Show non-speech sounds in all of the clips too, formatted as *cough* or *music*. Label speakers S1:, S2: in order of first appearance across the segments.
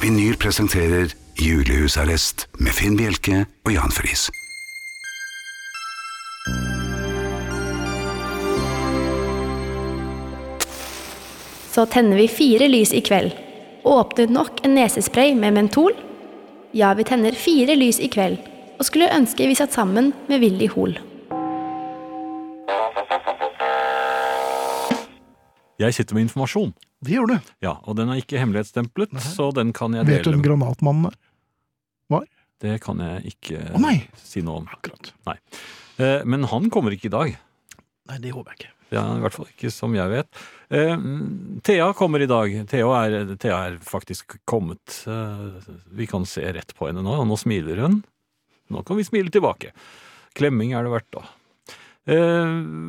S1: Vinyl presenterer Julehusarrest med Finn Bjelke og Jan Friis.
S2: Så tenner vi fire lys i kveld. Åpner nok en nesespray med mentol. Ja, vi tenner fire lys i kveld, og skulle ønske vi satt sammen med Willy Hoel.
S3: Jeg sitter med informasjon,
S4: Det gjør du.
S3: ja, og den er ikke hemmelighetsstemplet, så den kan jeg
S4: Vet du
S3: dele.
S4: hvem Granatmannen er?
S3: Det kan jeg ikke
S4: Å, nei!
S3: si noe om.
S4: Akkurat.
S3: Eh, Men han kommer ikke i dag.
S4: Nei, det håper jeg ikke.
S3: Det er I hvert fall ikke som jeg vet. Eh, Thea kommer i dag. Thea er, Thea er faktisk kommet. Eh, vi kan se rett på henne nå. Nå smiler hun. Nå kan vi smile tilbake. Klemming er det verdt, da. Eh,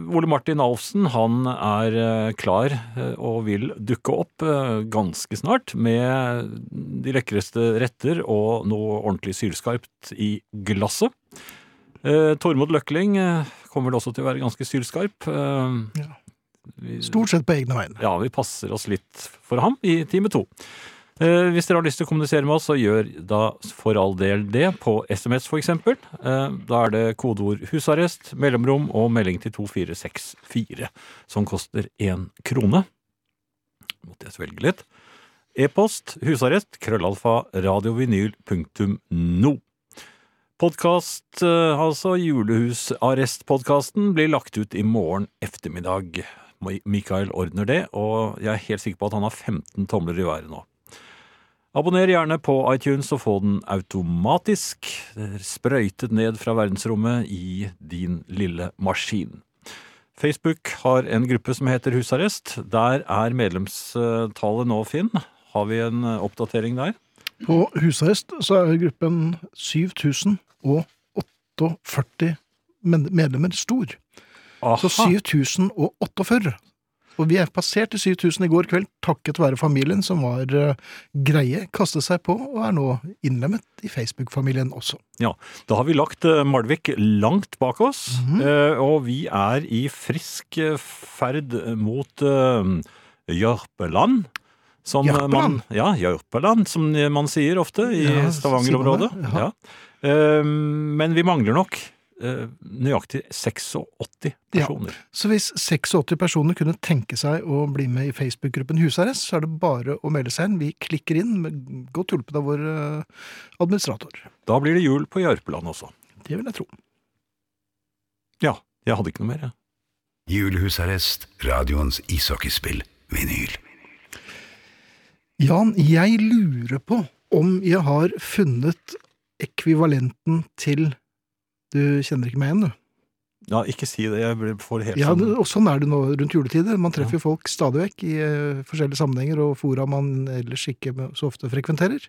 S3: Ole Martin Alfsen han er eh, klar eh, og vil dukke opp eh, ganske snart med de lekreste retter og noe ordentlig sylskarpt i glasset. Eh, Tormod Løkling eh, kommer det også til å være ganske sylskarp. Eh,
S4: Ja.
S3: vi-
S4: Stort sett på egne vegne.
S3: ja, vi passer oss litt for ham i time to. Eh, hvis dere har lyst til å kommunisere med oss, så gjør da for all del det på SMS f.eks. Eh, da er det kodeord 'husarrest', mellomrom og melding til 2464, som koster én krone. Måtte jeg svelge litt. E-post husarrest krøllalfa radiovinyl.no. Podkast, eh, altså Julehusarrestpodkasten, blir lagt ut i morgen ettermiddag. Mikael ordner det, og jeg er helt sikker på at han har 15 tomler i været nå. Abonner gjerne på iTunes og få den automatisk eh, sprøytet ned fra verdensrommet i din lille maskin. Facebook har en gruppe som heter Husarrest. Der er medlemstallet nå, Finn. Har vi en eh, oppdatering der?
S4: På husarrest så er gruppen 7048 men- medlemmer stor. Så 7048. Og vi er passert i 7000 i går kveld takket være familien som var eh, greie, kastet seg på og er nå innlemmet i Facebook-familien også.
S3: Ja, da har vi lagt eh, Malvik langt bak oss,
S4: Mhm.
S3: eh, og vi er i frisk eh, ferd mot eh, Jørpeland. Som eh, Man,
S4: Jørpeland?
S3: ja, Jørpeland, som eh, man sier ofte i
S4: Ja, så
S3: Stavanger-området.
S4: sier man det,
S3: Ja.
S4: ja.
S3: Eh, men vi mangler nok eh, nøyaktig 86
S4: Ja.
S3: personer.
S4: Så hvis 86 personer kunne tenke seg å bli med i Facebook-gruppen Husarrest, så er det bare å melde seg inn. Vi klikker inn, med godt hjulpet av vår eh, administrator.
S3: Da blir det jul på Jørpeland også.
S4: Det vil jeg tro.
S3: Ja, jeg hadde ikke noe mer. jeg.
S1: Julehusarrest, radioens ishockeyspill, vinyl.
S4: Jan, jeg lurer på om jeg har funnet ekvivalenten til Du kjenner ikke meg igjen, du?
S3: Ja, ikke si det, jeg blir- får helt
S4: Ja,
S3: sånn
S4: og sånn er det nå rundt juletider. Man treffer jo folk stadig vekk i eh, forskjellige sammenhenger og fora man ellers ikke så ofte frekventerer.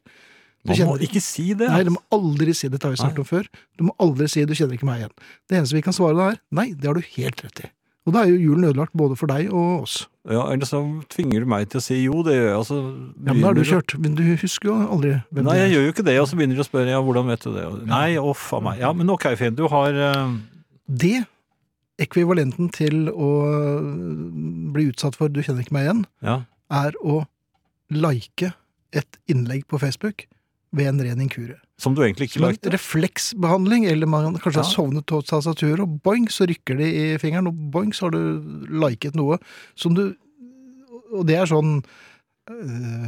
S3: Man må
S4: kjenner-
S3: ikke si det!
S4: Nei, du må aldri si det, det har vi snakket om før. Du må aldri si 'du kjenner ikke meg igjen'. Det eneste vi kan svare da er 'nei, det har du helt rett i'. Og da er jo julen ødelagt både for deg og oss.
S3: Ja, Eller så tvinger du meg til å si jo, det gjør jeg. og så
S4: Ja, men da er du
S3: begynner-
S4: kjørt. Men du husker jo aldri hvem
S3: Nei,
S4: det er.
S3: jeg gjør jo ikke det, og så begynner de å spørre ja, hvordan vet du det? Og, Nei, å faen meg. Ja, men ok, Finn, du har eh,
S4: Det, ekvivalenten til å bli utsatt for 'du kjenner ikke meg igjen',
S3: Ja,
S4: er å like et innlegg på Facebook ved en ren inkurie.
S3: som du egentlig ikke
S4: Som en
S3: likte.
S4: refleksbehandling, eller man
S3: Ja.
S4: kanskje har sovnet på tastaturet, og boing, så rykker det i fingeren, og boing, så har du liket noe som du Og det er sånn øh,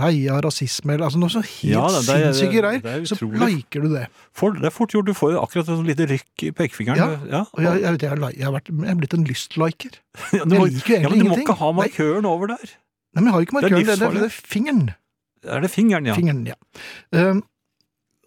S4: Heia rasisme, eller altså noe så helt
S3: Ja, det- det er-
S4: sinnssyke
S3: det er
S4: greier. Så
S3: utrolig.
S4: liker du det.
S3: For, det er fort gjort, du får jo akkurat et sånt lite rykk i pekefingeren. Ja,
S4: Og jeg, jeg, vet, jeg, har li- jeg, har vært, jeg er blitt en lystliker.
S3: Ja, du må,
S4: jeg liker jo
S3: ja, men
S4: egentlig
S3: du må
S4: ingenting.
S3: ikke ha
S4: Nei.
S3: markøren over der.
S4: Nei, men jeg har jo ikke
S3: Det er
S4: markøren, det, det,
S3: livsfarlig.
S4: det er fingeren.
S3: Er det fingeren, ja?
S4: Fingeren, ja. Ehm,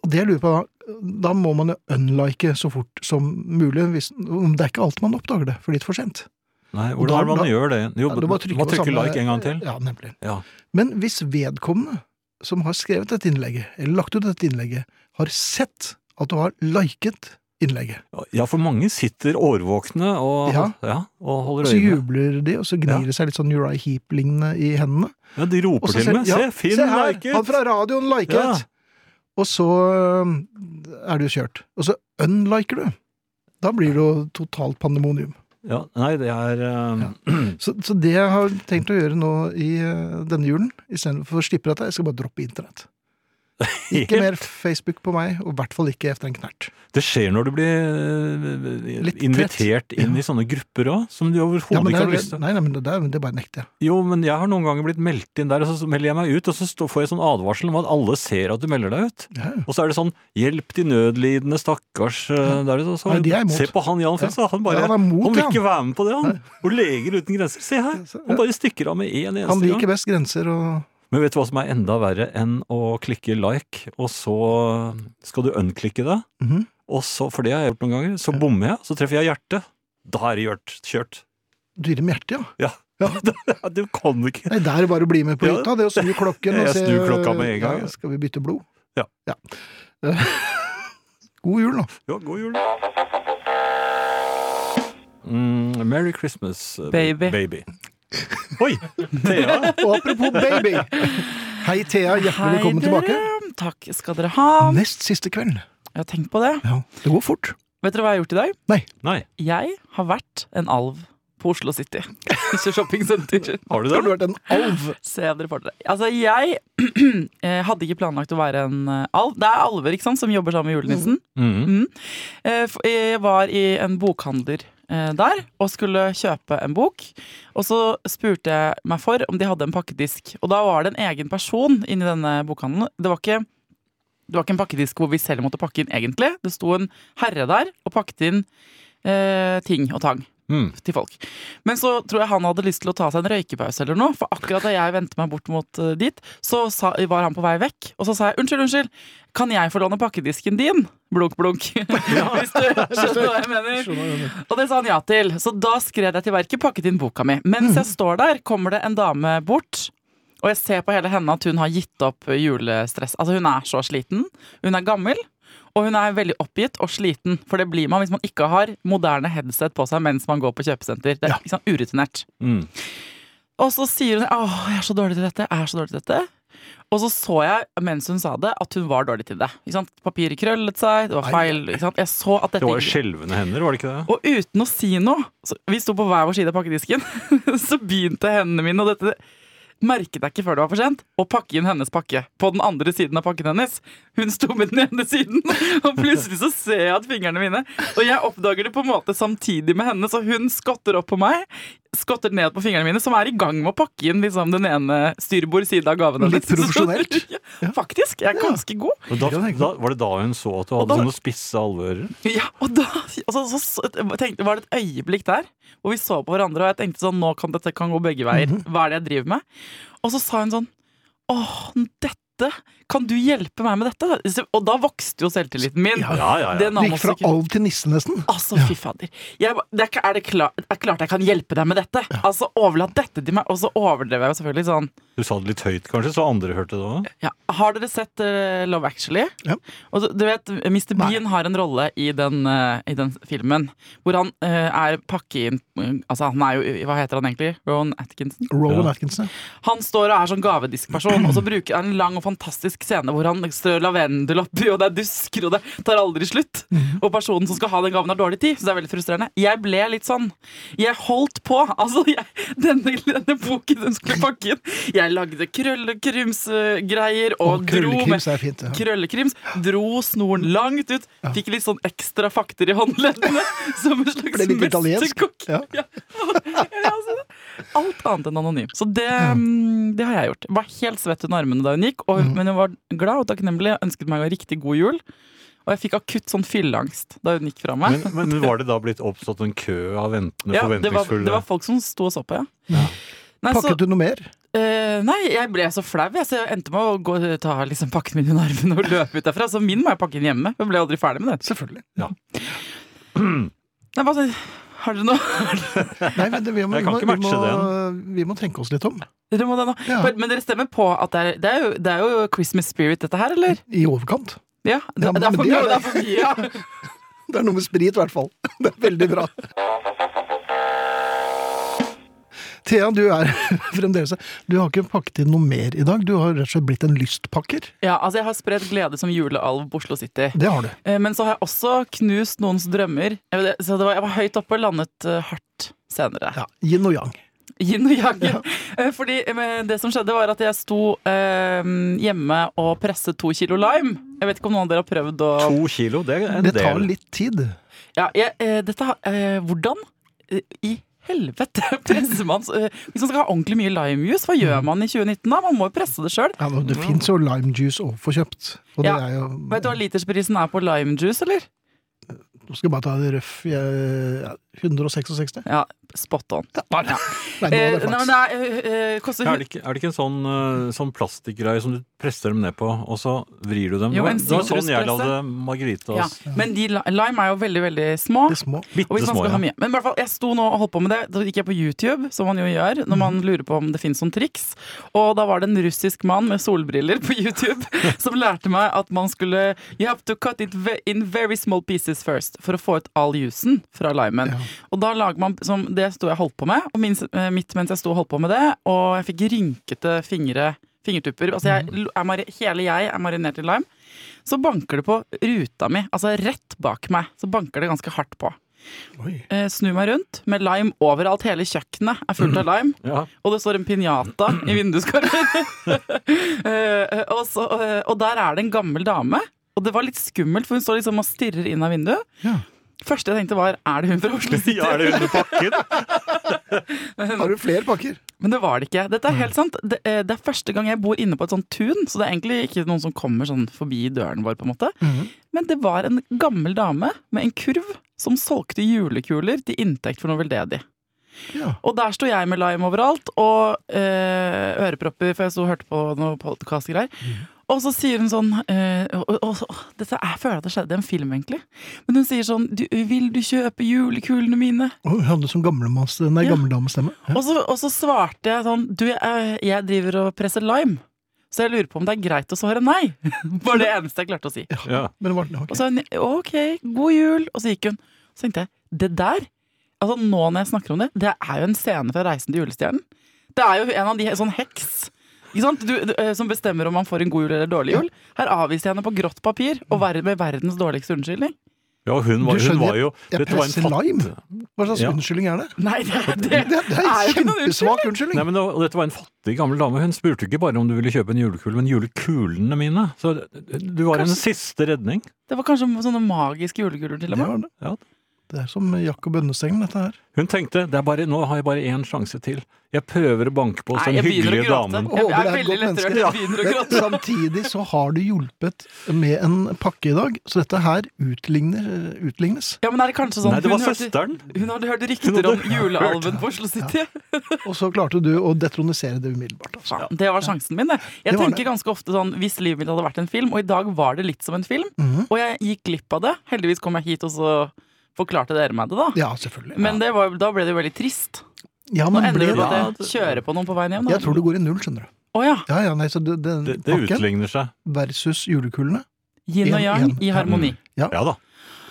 S4: og det jeg lurer på da, da må man jo unlike så fort som mulig. Hvis, om det er ikke alt man oppdager det, for litt for sent.
S3: Nei,
S4: Og da-
S3: hvordan er det man
S4: da-
S3: gjør det? Jo,
S4: Ja,
S3: du må trykke,
S4: på samme-
S3: like en gang til.
S4: Ja, nemlig.
S3: Ja.
S4: Men hvis vedkommende som har skrevet dette innlegget, eller lagt ut dette innlegget, har sett at du har liket innlegget,
S3: Ja, for mange sitter årvåkne og, ja.
S4: Ja.
S3: og
S4: og
S3: holder øye
S4: så
S3: med.
S4: jubler de, og så gnir det seg litt sånn Uriah Heap-lignende i hendene.
S3: Ja, de
S4: Og
S3: roper
S4: så
S3: til
S4: ser-
S3: og med.
S4: ja,
S3: Se, Finn
S4: se her! Han
S3: liket!
S4: fra radioen liket!
S3: Ja.
S4: Og så eh, er du kjørt. Og så unliker du. Da blir det jo totalt pandemonium.
S3: Ja, nei, det er eh,
S4: Så, så det jeg har tenkt å gjøre nå i eh, denne julen, istedenfor å slippe dette, jeg skal bare droppe internett. Ikke mer Facebook på meg, og i hvert fall ikke etter en knert.
S3: Det skjer når du blir eh,
S4: Litt
S3: invitert inn i sånne grupper òg, som du overhodet
S4: Ja, men det,
S3: ikke har
S4: er-
S3: lyst til.
S4: nei, nei, men det, det, det bare nekter jeg.
S3: Jo, men jeg har noen ganger blitt meldt inn der, og så melder jeg meg ut, og så stå- får jeg sånn advarsel om at alle ser at du melder deg ut.
S4: Ja, ja.
S3: Og så er det sånn 'hjelp de nødlidende, stakkars' eh, der, så, så,
S4: Nei, de er imot.
S3: Se på han Jan Friis, da, han bare
S4: Ja, han er mot,
S3: Han vil
S4: ja.
S3: ikke være med på det, han. Og Leger uten grenser. Se her!
S4: Ja, se, ja.
S3: Han bare stikker av med én eneste
S4: Han liker
S3: gang.
S4: best grenser og
S3: Men vet du hva som er enda verre enn å klikke like, og så skal du unklikke det?
S4: Mhm.
S3: Og så, for det har jeg gjort noen ganger, så bommer jeg, så treffer jeg hjertet. Da er det gjørt, kjørt.
S4: dyre med hjertet, ja.
S3: *laughs* Ja. du kan ikke
S4: Nei, det er bare å bli med på
S3: Ja.
S4: hytta. Det å
S3: *laughs*
S4: snu klokken og
S3: Jeg
S4: se
S3: snur klokka med en gang, ja.
S4: Ja, skal vi bytte blod?
S3: Ja.
S4: *laughs* God jul, nå.
S3: Ja, god jul. Mm, Merry Christmas, eh,
S5: Baby.
S3: baby. Oi! Thea.
S4: Og apropos baby! Hei, Thea. Hjertelig velkommen tilbake.
S5: Takk skal dere ha.
S4: Nest siste kvelden.
S5: Jeg har tenkt på det.
S4: Ja, det går fort.
S5: Vet dere hva jeg har gjort i dag?
S3: Nei,
S5: Jeg har vært en alv på Oslo City. *laughs* Ikke shoppingsenter.
S3: har du
S4: Har du
S3: det?
S4: vært en alv?
S5: Se om dere får det. Altså, jeg *clears throat* eh, hadde ikke planlagt å være en eh, alv. Det er alver ikke sant, som jobber sammen med julenissen.
S3: Mhm.
S5: Eh, f- Jeg var i en bokhandler eh, der og skulle kjøpe en bok. Og så spurte jeg meg for om de hadde en pakkedisk. Og da var det en egen person inni denne bokhandelen. Det var ikke, det var ikke en pakkedisk hvor vi selv måtte pakke inn, egentlig. Det sto en herre der og pakket inn eh, ting og tang
S3: Mm.
S5: til folk. Men så tror jeg han hadde lyst til å ta seg en røykepause eller noe, for akkurat da jeg vendte meg bort mot eh, dit, så sa, var han på vei vekk. Og så sa jeg unnskyld, unnskyld, kan jeg få låne pakkedisken din? Blunk, blunk. *laughs* Hvis du skjønner hva jeg mener. Og det sa han ja til. Så da skrev jeg til verket, pakket inn boka mi. Mens
S3: Mm.
S5: jeg står der, kommer det en dame bort. Og jeg ser på hele henne at hun har gitt opp julestress. Altså Hun er så sliten. Hun er gammel. Og hun er veldig oppgitt og sliten, for det blir man hvis man ikke har moderne headset på seg mens man går på kjøpesenter. Det er liksom urutinert.
S3: Mm.
S5: Og så sier hun åh, jeg er så dårlig til dette, jeg er så dårlig til dette. Og så så jeg mens hun sa det, at hun var dårlig til det. Ikke sant? Papiret krøllet seg, det var feil. Ikke sant? Jeg så at
S3: Det
S5: dette
S3: var jo
S5: gikk-
S3: skjelvende hender, var det ikke det?
S5: og uten å si noe, så vi sto på hver vår side av pakkedisken, *laughs* så begynte hendene mine, og dette merket jeg ikke før det var for sent, å pakke inn hennes pakke. På den andre siden av pakken hennes. Hun sto med den ene siden, *laughs* og plutselig så ser jeg at fingrene mine Og jeg oppdager det på en måte samtidig med henne, så hun skotter opp på meg, skotter ned på fingrene mine, som er i gang med å pakke inn liksom, den ene styrbord side av gaven
S4: Litt profesjonelt.
S5: *laughs* Ja, Faktisk. Jeg er ganske god.
S3: Og da, da, var det da hun så at du hadde
S5: da-
S3: sånne spisse alveører?
S5: *laughs* Ja, og da altså, så, så, tenkte, var det et øyeblikk der hvor vi så på hverandre, og jeg tenkte sånn Nå kan dette kan gå begge veier.
S3: Mhm.
S5: Hva er det jeg driver med? Og så sa hun sånn Åh, dette Kan du hjelpe meg med dette? Og da vokste jo selvtilliten min.
S3: Ja, ja, ja.
S5: Det
S4: Du gikk fra
S5: namostykker.
S4: alv til nisse, nesten.
S5: Altså, fy fader. Jeg, ba- det er, ikke- er det klar, det er klart jeg kan hjelpe deg med dette! Altså, Overlat dette til meg. Og så overdrev jeg jo selvfølgelig sånn.
S3: Du sa det litt høyt, kanskje, så andre hørte det òg?
S5: Ja, har dere sett eh, Love Actually?
S4: Ja.
S5: Og så- du vet, Mr. Bean har en rolle i den, eh, i den filmen hvor han eh, er pakke inn Altså, han er jo Hva heter han egentlig? Rowan Atkinson?
S4: Rowan
S3: Ja.
S4: Atkinson. ja.
S5: Han står og er sånn gavediskperson, og så bruker han en lang og fantastisk scene hvor han strør lavendel oppi, og det er dusker, og det tar aldri slutt. Og personen som skal ha den gaven, har dårlig tid, så det er veldig frustrerende. Jeg ble litt sånn. Jeg holdt på. Altså, jeg, denne, denne boken den skulle pakke inn. Jeg lagde krøllekrimsgreier og,
S4: Og
S5: dro med
S4: krøllekrims er fint. Ja.
S5: krøllekrims, dro snoren langt ut, fikk litt sånn ekstra fakter i håndleddene, *laughs* som en slags
S4: Ble litt italiensk.
S5: mesterkokk.
S4: Ja.
S5: *laughs* Ja. Altså, alt annet enn anonym. Så det, mm, det har jeg gjort. Var helt svett under armene da hun gikk, og, men hun var glad og takknemlig, ønsket meg en riktig god jul. Og jeg fikk akutt sånn fylleangst da hun gikk fra meg.
S3: Men, men var det da blitt oppstått en kø av ventende,
S5: ja, det, var,
S3: forventningsfulle
S5: det var folk som sto og så på, ja. Nei,
S3: Altså-
S5: så,
S4: Pakket du noe mer?
S5: eh, nei, jeg ble så flau, jeg, så jeg endte med å gå, ta liksom, pakken min under armen og løpe ut derfra. Så min må jeg pakke inn hjemme. Jeg ble aldri ferdig med det.
S4: Selvfølgelig.
S5: Nei, hva, har dere noe? *laughs*
S4: Nei, men det, vi, må,
S3: Jeg kan ikke
S4: vi, må,
S3: matche
S4: vi må tenke oss litt om.
S5: Dere må det nå.
S4: Ja.
S5: For- Men dere stemmer på at det er, det, er jo, det er jo Christmas spirit, dette her, eller?
S4: I overkant.
S5: Ja, det,
S4: Ja, men
S5: det er for
S4: det
S5: mye.
S4: er
S5: Det er for mye. Ja.
S4: Det er *laughs* noe med sprit, i hvert fall. Det er veldig bra. Thea, du er *laughs* fremdeles Du har ikke pakket inn noe mer i dag. Du har rett og slett blitt en lystpakker.
S5: *laughs* Ja, altså Jeg har spredt glede som julealv på Oslo City.
S4: Det har du.
S5: Eh, Men så har jeg også knust noens drømmer. Jeg vet- Så det var, jeg var høyt oppe og landet eh, hardt senere.
S4: Ja, Yin og yang.
S5: *laughs* Yin og yang. Eh, Fordi eh, men det som skjedde, var at jeg sto eh, hjemme og presset to kilo lime. Jeg vet ikke om noen av dere har prøvd å
S3: To kilo, det er en
S4: Det tar
S3: del.
S4: litt tid.
S5: ja, jeg, eh, dette, har- eh, Hvordan eh, i helvete *laughs* presser man så- eh, Hvis man skal ha ordentlig mye limejuice, hva gjør man i 2019 da? Man må jo presse det sjøl.
S4: Ja,
S3: Mm.
S4: men det fins jo limejuice å få kjøpt. Og det
S5: Ja,
S4: er jo
S5: Vet du hva litersprisen er på limejuice, eller?
S4: Nå skal jeg bare ta det røff jeg- ja, 166?
S5: Ja, spot on.
S4: Ja, bare. Nei, nå
S5: Eh,
S4: hadde jeg
S5: nei, men
S4: flaks.
S5: det er, eh, eh, koster
S3: Er det, ikke, er det ikke en sånn, eh, sånn plastikkgreie som du presser dem ned på, og så vrir du dem?
S5: Jo,
S3: det,
S5: en
S3: var, det var sånn jeg
S5: sitruspresse.
S3: lagde margaritas.
S5: Ja, men de, li- lime er jo veldig, veldig små.
S4: De små.
S5: Og hvis
S3: Bitte
S5: man
S3: små,
S5: skal ha
S3: ja.
S5: mye. Men i hvert fall, jeg sto nå og holdt på med det. Da gikk jeg på YouTube, som man jo gjør
S3: Mm.
S5: når man lurer på om det finnes noen triks. Og da var det en russisk mann med solbriller på
S3: *laughs*
S5: YouTube som lærte meg at man skulle You have to cut it ve- in very small pieces first for å få ut all juicen fra limen. Og da lager man som Det sto jeg og holdt på med, og min, eh, midt mens jeg sto og holdt på med det, og jeg fikk rynkete fingre, fingertupper. Altså jeg,
S3: Mm.
S5: er, mari- hele jeg er marinert i lime. Så banker det på ruta mi, altså rett bak meg. Så banker det ganske hardt på
S4: Oi.
S5: eh, snu meg rundt med lime overalt. Hele kjøkkenet er fullt av lime,
S3: Ja.
S4: *laughs*
S5: og det står en pinjata i vinduskarmen. eh, og, så, eh, og der er det en gammel dame, og det var litt skummelt, for hun står liksom og stirrer inn av vinduet.
S4: Ja.
S5: Første jeg tenkte var, er det hun fra
S3: *laughs*
S5: Oslo City?
S3: ja, er det under pakken?
S4: Har du flere pakker?
S5: Men det var det ikke. Dette er helt sant. Det, eh, det er første gang jeg bor inne på et sånt tun, så det er egentlig ikke noen som kommer sånn forbi døren vår, på en måte. Men det var en gammel dame med en kurv som solgte julekuler til inntekt for noe veldedig.
S4: Ja.
S5: Og der sto jeg med lime overalt, og eh, ørepropper, for jeg sto og hørte på noe podkast-greier. Og så sier hun sånn eh, og, og, og, Dette jeg føler at det skjedde i en film, egentlig. Men hun sier sånn du, 'Vil du kjøpe julekulene mine?'
S4: Hun hadde sånn gamlemanns- nei,
S5: Ja.
S4: gammeldamestemme. Ja.
S5: Og så, og så svarte jeg sånn Du, jeg, jeg driver og presser lime. Så jeg lurer på om det er greit å svare nei. *laughs* Var det eneste jeg klarte å si.
S3: Ja.
S4: Men det var, ok.
S5: Og så sa hun OK, god jul. Og så gikk hun. Så tenkte jeg det der Altså Nå når jeg snakker om det, det er jo en scene fra Reisen til julestjernen. Det er jo en av de sånn heks ikke sant? Du, du, eh, som bestemmer om man får en god jul eller dårlig jul. Her avviser jeg henne på grått papir og ver med verdens dårligste unnskyldning.
S3: ja, hun
S4: Du
S3: var, hun
S4: skjønner,
S3: var jo
S4: jeg
S3: dette var en
S4: presser
S3: fatt-
S4: lime. Hva slags
S3: Ja.
S4: unnskyldning er det?
S5: Nei, det, det,
S4: Det, det er
S5: er jo ikke noen unnskyldning.
S4: kjempesvak unnskyldning.
S3: Nei, men det, og dette var en fattig gammel dame. Hun spurte ikke bare om du ville kjøpe en julekule, men julekulene mine. Så du var hennes siste redning.
S5: Det var kanskje sånne magiske juleguler til og
S4: Det
S5: med.
S4: var det.
S3: Ja.
S4: Det er som Jakob Bønnesengen, dette her.
S3: Hun tenkte det er bare, nå har jeg bare én sjanse til. Jeg prøver å banke på hos
S5: Nei,
S3: den
S5: jeg begynner å
S3: hyggelige
S5: gråte.
S3: damen.
S5: Jeg
S4: Håper
S5: er
S4: det er et
S5: veldig
S4: godt
S5: lettrørt.
S4: menneske.
S5: Jeg begynner å
S4: Men
S5: gråte.
S4: samtidig så har du hjulpet med en pakke i dag, så dette her utligner, utlignes.
S5: Ja, men er det kanskje sånn
S3: Nei, det var
S5: hun, hørte,
S3: søsteren.
S5: hun hadde hørt
S3: Hun
S5: rykter
S3: hadde
S5: om julealven på Oslo City?
S4: Og så klarte du å detronisere det umiddelbart. Altså.
S5: Faen, Det var sjansen min, det. Jeg
S4: Det var
S5: tenker
S4: det.
S5: ganske ofte sånn hvis livet mitt hadde vært en film, og i dag var det litt som en film,
S4: Mhm.
S5: og jeg gikk glipp av det. Heldigvis kom jeg hit, og så forklarte dere meg det, da.
S4: Ja, selvfølgelig.
S5: Men det var, da ble det jo veldig trist.
S4: ja,
S5: Nå
S4: men
S5: ender
S4: ble
S5: det med
S4: det
S3: Ja,
S5: at jeg kjører på noen på veien hjem.
S4: Jeg
S5: Da.
S4: tror det går i null, skjønner du.
S5: Å ja.
S4: Ja, ja, nei, så det, den
S3: Det, det
S4: pakken
S3: utligner seg.
S4: versus julekulene,
S5: Yin og
S4: En-
S5: yang
S4: en-
S5: i harmoni.
S3: Ja da.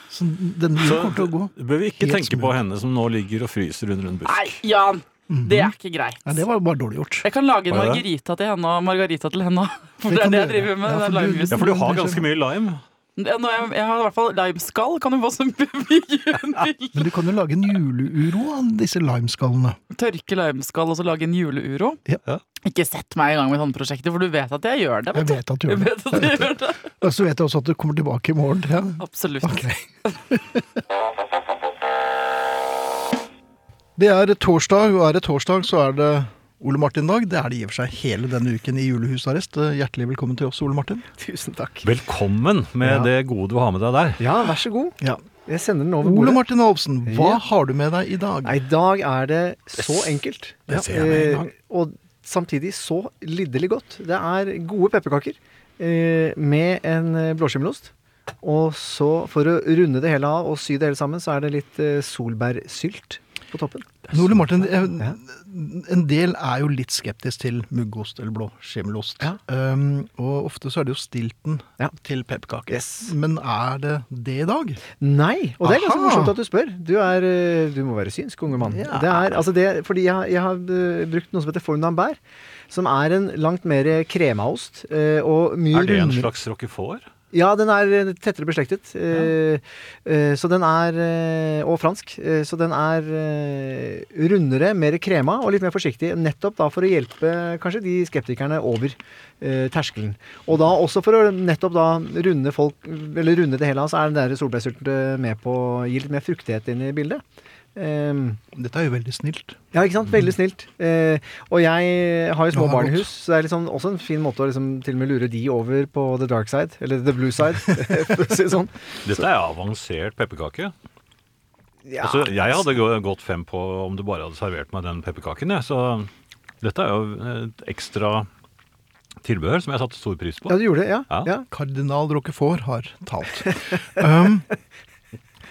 S4: så den
S3: Så
S4: kommer til å gå.
S3: bør vi ikke
S4: Helt
S3: tenke på henne som nå ligger og fryser under en busk.
S5: Nei, Jan! Det er ikke
S4: Nei,
S5: greit.
S4: Mhm. det var bare dårlig gjort.
S5: Jeg kan lage en
S3: Var det?
S5: margarita til henne og margarita
S4: *laughs*
S5: til henne òg. For
S4: Det
S5: det er
S4: kan
S5: det jeg
S4: du
S5: driver
S4: gjøre.
S5: med.
S4: Ja,
S5: den
S4: for du-
S5: limejusen.
S3: Ja, for du har ganske mye lime.
S5: Ja, nå, jeg, jeg har i hvert fall limeskall, kan du få som
S4: *laughs*
S5: julebil.
S4: Men du kan jo lage en juleuro av disse limeskallene.
S5: Tørke limeskall og så lage en juleuro.
S4: Ja.
S3: Ja.
S5: Ikke sett meg i gang med sånne prosjekter, for du vet at jeg gjør
S4: Jeg
S5: det. Vet du.
S4: vet at du
S5: Jeg
S4: gjør det.
S5: vet at *laughs* jeg gjør det.
S4: Og så vet jeg også at du kommer tilbake i morgen. Ja.
S5: Absolutt.
S4: Ok. *laughs* Det er torsdag, og er det torsdag, så er det Ole Martin-dag. Det er det i og for seg hele denne uken i julehusarrest. Hjertelig velkommen til oss, Ole Martin.
S6: Tusen takk.
S3: Velkommen med
S6: Ja.
S3: det gode du har med deg der.
S6: Ja, vær så god.
S4: Ja.
S6: Jeg sender den over
S4: Ole
S6: bordet.
S4: Martin Alvsen, hva
S6: Ja.
S4: har du med deg i dag?
S6: Nei, I dag er det så enkelt.
S4: det ser jeg med en
S6: Eh,
S4: gang.
S6: Og samtidig så lidderlig godt. Det er gode pepperkaker eh, med en eh, blåskimmelost. Og så, for å runde det hele av og sy det hele sammen, så er det litt eh, solbærsylt på toppen.
S4: Ole Martin, en, en del er jo litt skeptisk til muggost eller blå skimmelost.
S6: Ja.
S4: Um, og ofte så er det jo stilten
S6: Ja.
S4: til pepperkaker.
S6: Yes.
S4: Men er det det i dag?
S6: Nei! Og det er ganske
S4: Aha!
S6: morsomt at du spør. Du, er, eh, du må være synsk, unge mann.
S4: Ja.
S6: Det er, altså det, fordi jeg, har- jeg har eh, brukt noe som heter fornambær, som er en langt mer kremaost. eh, Og mye
S3: Er det en
S6: rundere-
S3: slags roquefort?
S6: Ja, den er eh, tettere beslektet. eh, eh, Så den er eh, Og fransk. eh, Så den er eh, rundere, mer krema og litt mer forsiktig. Nettopp da for å hjelpe kanskje de skeptikerne over eh, terskelen. Og da også for å nettopp da runde folk Eller runde det hele av, så er den der solbærstylten med på å gi litt mer fruktighet inn i bildet. Eh,
S4: Dette er jo veldig snilt.
S6: ja, ikke sant? Veldig snilt. Eh, og jeg har jo små
S4: Mm. Ja,
S6: barn i
S4: godt.
S6: hus, så det er liksom også en fin måte å liksom til og med lure de over på the dark side, eller the blue side, *laughs* for å si det sånn.
S3: Dette er avansert pepperkake.
S6: Ja.
S3: Altså, jeg hadde gå- gått fem på om du bare hadde servert meg den pepperkaken, jeg. Så dette er jo et ekstra tilbehør som jeg satte stor pris på.
S6: ja, du gjorde det? Ja.
S3: Ja.
S6: ja.
S4: Kardinal Roquefort har talt. *laughs* Um,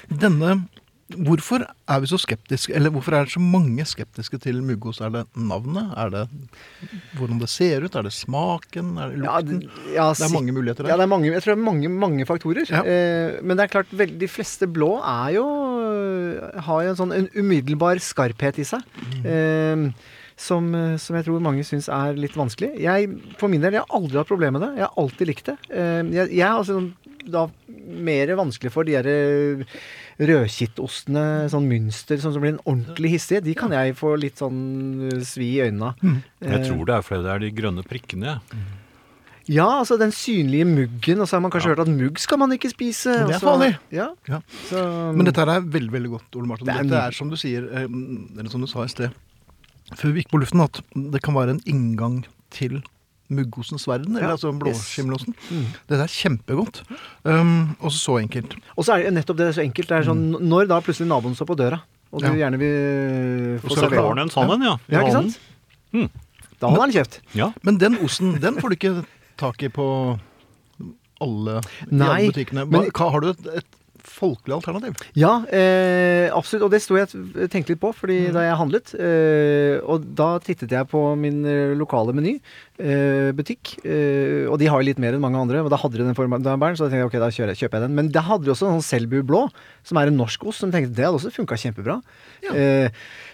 S4: denne Hvorfor er vi så skeptiske, eller hvorfor er det så mange skeptiske til muggost? Er det navnet? Er det hvordan det ser ut? Er det smaken? Er det
S6: Ja,
S4: lukten?
S6: det- ja,
S4: det er
S6: sik-
S4: mange muligheter der.
S6: Ja, det er mange, jeg tror det er mange, mange faktorer.
S4: Ja.
S6: Eh, men det er klart, vel, de fleste blå er jo har jo en sånn en umiddelbar skarphet i seg.
S4: Mm.
S6: Eh, som, som jeg tror mange syns er litt vanskelig. Jeg, for min del, jeg har aldri hatt problemer med det. Jeg har alltid likt det. Eh, jeg, jeg har altså da mer vanskelig for de der rødkittostene, sånn mønster, sånn som blir en ordentlig hissige. De kan jeg få litt sånn eh, svi i øynene
S4: Mm.
S6: av. Eh,
S3: Jeg tror det er fordi det er de grønne prikkene.
S6: Ja, altså den synlige muggen, og så har man kanskje hørt at mugg skal man ikke spise.
S4: Men det er
S6: og så-
S4: farlig.
S6: Ja,
S4: Ja.
S6: så,
S4: Men dette her er veldig veldig godt, Ole Martin.
S6: Mm. Det er
S4: Dette
S6: nydelig.
S4: er som du sier, eh, eller som du sa i sted, før vi gikk på luften, at det kan være en inngang til muggosens verden, eller
S6: Ja,
S4: altså blåskimmelosten.
S6: Mm.
S4: Dette er kjempegodt. Um, også så enkelt.
S6: Og så er det nettopp det så enkelt. Det er sånn, Når da plutselig naboen står på døra, og du
S4: Mm. Ja.
S6: gjerne vil få
S3: Og så klarer
S6: servere
S3: han en sånn en, ja. i
S6: Ja, ikke
S3: hånden.
S6: sant?
S4: Mm.
S6: Da holder han kjeft.
S3: Ja.
S4: Men den osten, den får du ikke tak i på alle, i
S6: Nei,
S4: alle butikkene. Hva,
S6: men-
S4: hva, har du et, et folkelig alternativ?
S6: Ja, eh, absolutt. Og det sto jeg og tenkte litt på fordi
S4: Mm.
S6: da jeg handlet. Eh, og da tittet jeg på min eh, lokale meny, eh, butikk. Eh, og de har jo litt mer enn mange andre. Og da hadde de den formabæren, så da tenkte jeg ok, da kjører, jeg- kjøper jeg den. Men da hadde de også en sånn Selbu blå, som er en norsk ost, som jeg tenkte det hadde også funka kjempebra. Eh,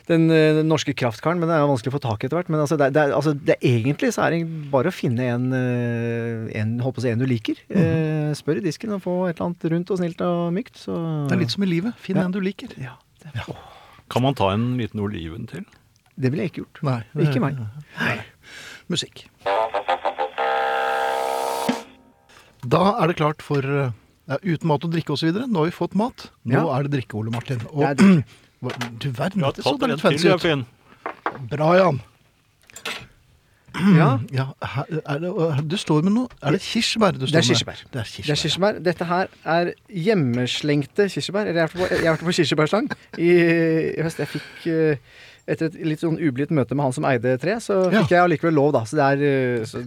S6: den, eh, den norske kraftkaren, men det er jo vanskelig å få tak i etter hvert. Men altså, det, er- det er, altså, det er egentlig så er det bare å finne en, eh, en, holdt på å si, en du liker.
S4: Mm.
S6: Eh, spør i disken og få et eller annet rundt og snilt og mykt. Så
S4: Det er litt som i livet. Finn en du liker.
S6: Mm. ja, det,
S3: Kan man ta en liten oliven til?
S6: det ville jeg ikke gjort.
S4: Nei, det- *clears throat*
S6: Ikke meg.
S4: Musikk. Da er det klart for eh, ja, uten mat og drikke osv. Nå har vi fått mat. Nå
S6: Ja.
S4: er det drikke, Ole Martin. Og,
S6: Det er-
S4: *clears throat* Hva- du verden,
S3: Ja,
S4: dette så
S3: tatt en
S4: litt
S3: til,
S4: fancy
S3: ja,
S4: ut.
S3: Finn.
S4: Bra, Jan.
S6: Ja,
S4: Ja, her, er det, og du står med noe Er det kirsebær du
S6: Det er
S4: står
S6: kirsebær.
S4: med? Det er
S6: det
S4: kirsebær.
S6: er kirsebær. Dette her er hjemmeslengte kirsebær. Eller jeg har vært på- jeg har vært på kirsebærslang i, i høst. Jeg fikk eh, etter et litt sånn ublidt møte med han som eide tre, så
S4: Ja.
S6: fikk jeg allikevel lov, da. Så det er eh, så,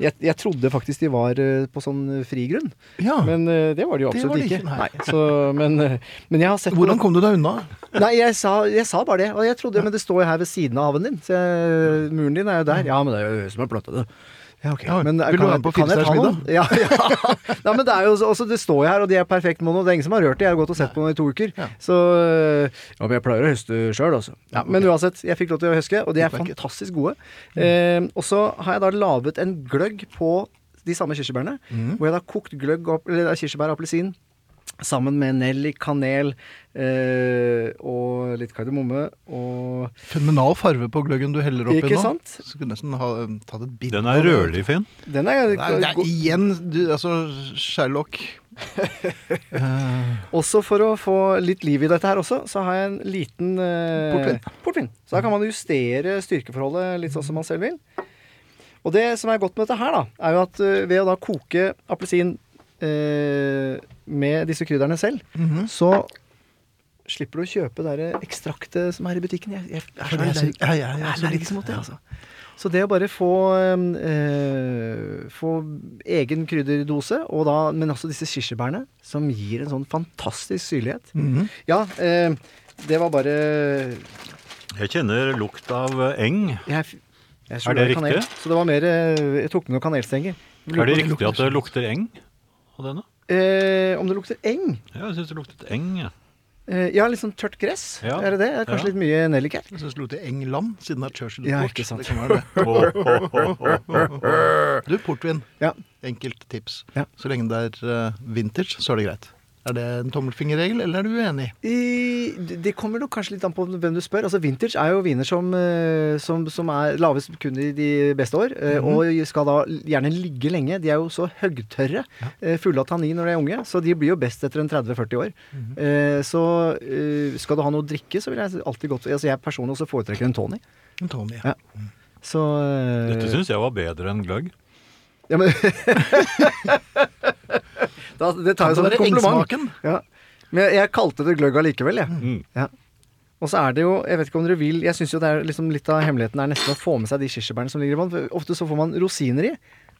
S6: jeg, jeg trodde faktisk de var eh, på sånn frigrunn,
S4: Ja.
S6: men eh, det var de jo
S4: Det var de
S6: absolutt ikke.
S4: ikke, nei.
S6: Nei, så, men, eh, men jeg har sett
S4: Hvordan kom du deg unna?
S6: Nei, jeg sa, jeg sa bare det. Og jeg trodde, men det står jo her ved siden av haven din. Så jeg, muren din er jo der. Ja, men det er jo jeg som har planta det. Ja, ok.
S4: Ja,
S6: men,
S4: vil
S6: kan,
S4: du være
S6: jeg-
S4: på
S6: kan jeg ta
S4: Finsteinsmiddag?
S6: noen? *laughs* Ja, ja. Nei, men det er jo så- også, det står jo her, og de er perfekt mono. Det er ingen som har rørt det. Jeg har gått og sett på dem i to uker.
S4: Ja.
S6: Så Ja, men jeg pleier å høste sjøl, altså. Ja, men uansett, jeg fikk lov til å høske, og de er
S4: Utmerket. Mm.
S6: fantastisk gode. Eh, og så har jeg da laget en gløgg på de samme kirsebærene,
S4: Mm.
S6: hvor jeg da har kokt gløgg opp, eller eh, kirsebær og appelsin Sammen med nellik, kanel eh, og litt kardemomme og
S4: Fenomenal farve på gløggen du heller oppi nå.
S6: Ikke sant?
S4: Skulle nesten ha eh, tatt et bitt.
S3: Den
S4: av
S3: er
S4: det.
S3: rødlig, Finn.
S6: Den er,
S4: Det er, det er
S6: god.
S4: igjen du, altså Sherlock.
S6: Også for å få litt liv i dette her også, så har jeg en liten eh,
S4: Portvin.
S6: portvin. Så da kan man justere styrkeforholdet litt sånn som man selv vil. Og det som er godt med dette her, da, er jo at eh, ved å da koke appelsin eh, med disse krydderne selv,
S4: Mhm.
S6: så slipper du å kjøpe det der ekstraktet som er i butikken. Jeg, jeg, jeg
S4: Jeg er
S6: er så
S4: så-
S6: allergisk-
S4: ja, jeg er
S6: Jeg er
S4: så
S6: allergisk
S4: litt-
S6: mot det, altså. Så det å bare få, eh, få egen krydderdose, og da, men også disse kirsebærene, som gir en sånn fantastisk syrlighet.
S4: Mhm.
S6: Ja, eh, det var bare
S3: Jeg kjenner lukt av eng.
S6: jeg, f- jeg
S3: Er det
S6: slo kanel,
S3: riktig?
S6: Så det var mer eh, Jeg tok med noen kanelstenger.
S3: Er det riktig at det lukter eng av denne?
S6: Eh, om det lukter eng?
S3: Ja, jeg syns det luktet eng. jeg.
S6: Eh, ja, litt sånn tørt gress.
S3: Ja.
S6: Er det det? Er det kanskje
S3: Ja.
S6: litt mye nellik her?
S4: Jeg syns det lukter England, siden det er Churchill
S6: Ja,
S4: Port.
S6: ikke sant.
S4: Det kan være
S6: *laughs*
S4: det.
S3: Ho, ho, ho, ho.
S4: Du, portvin.
S6: Ja.
S4: Enkelt tips.
S6: Ja.
S4: Så lenge det er eh, vintage, så er det greit. Er det en tommelfingerregel, eller er du uenig?
S6: I, det kommer nok kanskje litt an på hvem du spør. Altså Vintage er jo viner som, eh, som, som er lages kun i de beste år,
S3: Mhm.
S6: eh, og skal da gjerne ligge lenge. De er jo så høgtørre, eh, fulle av tannin når de er unge, så de blir jo best etter en 30-40 år.
S3: Mhm.
S6: Eh, Så eh, skal du ha noe å drikke, så vil jeg alltid godt Altså jeg personlig også foretrekker en Tony.
S4: En Tony.
S6: Ja. Så eh,
S3: Dette syns jeg var bedre enn gløgg.
S6: ja, men, *laughs* da, Det tar
S4: Kan
S6: jeg som
S4: det være
S6: et kompliment.
S4: engsmaken?
S6: Ja. Men jeg, jeg kalte det gløgg allikevel, jeg.
S3: Mm.
S6: Ja. Og så er det jo, jeg vet ikke om dere vil Jeg synes jo det er liksom litt av hemmeligheten er nesten å få med seg de kirsebærene som ligger i bånn. for Ofte så får man rosiner i.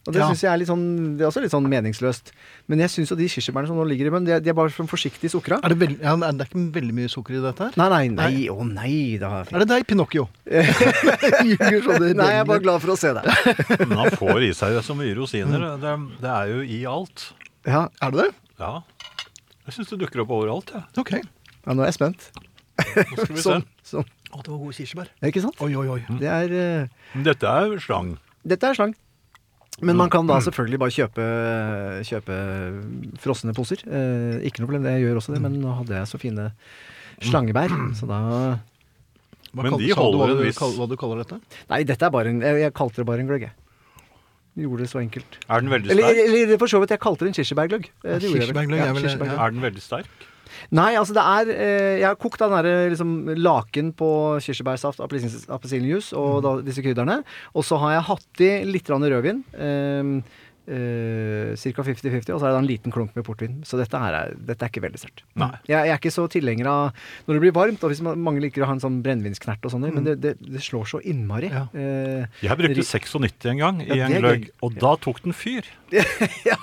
S6: Og det
S4: Ja.
S6: synes jeg er litt sånn Det er også litt sånn meningsløst. Men jeg syns jo de kirsebærene som nå ligger i bånn, de, er- de er bare sånn forsiktig sukra.
S4: Er det, veld... ja, men er det ikke veldig mye sukker i dette her?
S6: Nei, nei, nei. Å nei, da.
S4: Er det deg,
S6: *laughs*
S4: Pinocchio? *laughs* Ljuger så det
S6: Nei, jeg er
S4: renner.
S6: bare glad for å se deg.
S3: Men han får i seg så mye rosiner. Det, det er jo i alt.
S6: Ja,
S4: Er det det?
S3: Ja. Jeg syns det dukker opp overalt, jeg.
S4: Ok.
S6: ja nå er jeg spent.
S3: Nå skal vi se.
S6: Sånn. sånn.
S4: Å, det var gode kirsebær.
S6: Ikke sant?
S4: Oi, oi, oi.
S6: Det er eh,
S3: Men Dette er jo slang.
S6: Dette er slang. Men man kan da
S4: Mm.
S6: selvfølgelig bare kjøpe, kjøpe frosne poser. Eh, ikke noe problem, det jeg gjør også det, men nå hadde jeg så fine
S4: Mm.
S6: slangebær,
S4: *clears throat*
S6: så da
S4: Hva
S3: Men
S4: kall-
S3: de
S4: sa du hva
S3: holder en
S4: du
S3: viss-
S4: kall- Hva du kaller dette?
S6: Nei, dette er bare en Jeg, jeg kalte det bare en gløgg, jeg. Gjorde det så enkelt.
S3: Er den veldig
S6: Eller,
S3: sterk?
S6: eller for så vidt, jeg kalte det en kirsebærgløgg. Eh, det gjorde jeg vel.
S4: Kirsebærgløgg er vel-
S6: kirsebærgløgg.
S3: Er den veldig sterk?
S6: Nei, altså det er eh, Jeg har kokt den derre liksom, laken på kirsebærsaft, appelsin- appelsinjuice og da, disse krydderne. Og så har jeg hatt i litt grann rødvin. Eh, eh, Ca. 50-50, og så er det da en liten klunk med portvin. Så dette, her er, dette er ikke veldig sterkt. Mm.
S3: Nei.
S6: Jeg, jeg er ikke så tilhenger av når det blir varmt, og hvis man, mange liker å ha en sånn brennevinsknert og sånn, men det, det, det slår så innmari.
S4: Ja.
S6: Eh,
S3: Jeg
S6: Ri-
S3: brukte 96 en gang i
S6: Ja,
S3: en
S6: det er
S3: gløgg,
S6: gøy.
S3: og da tok den fyr. Det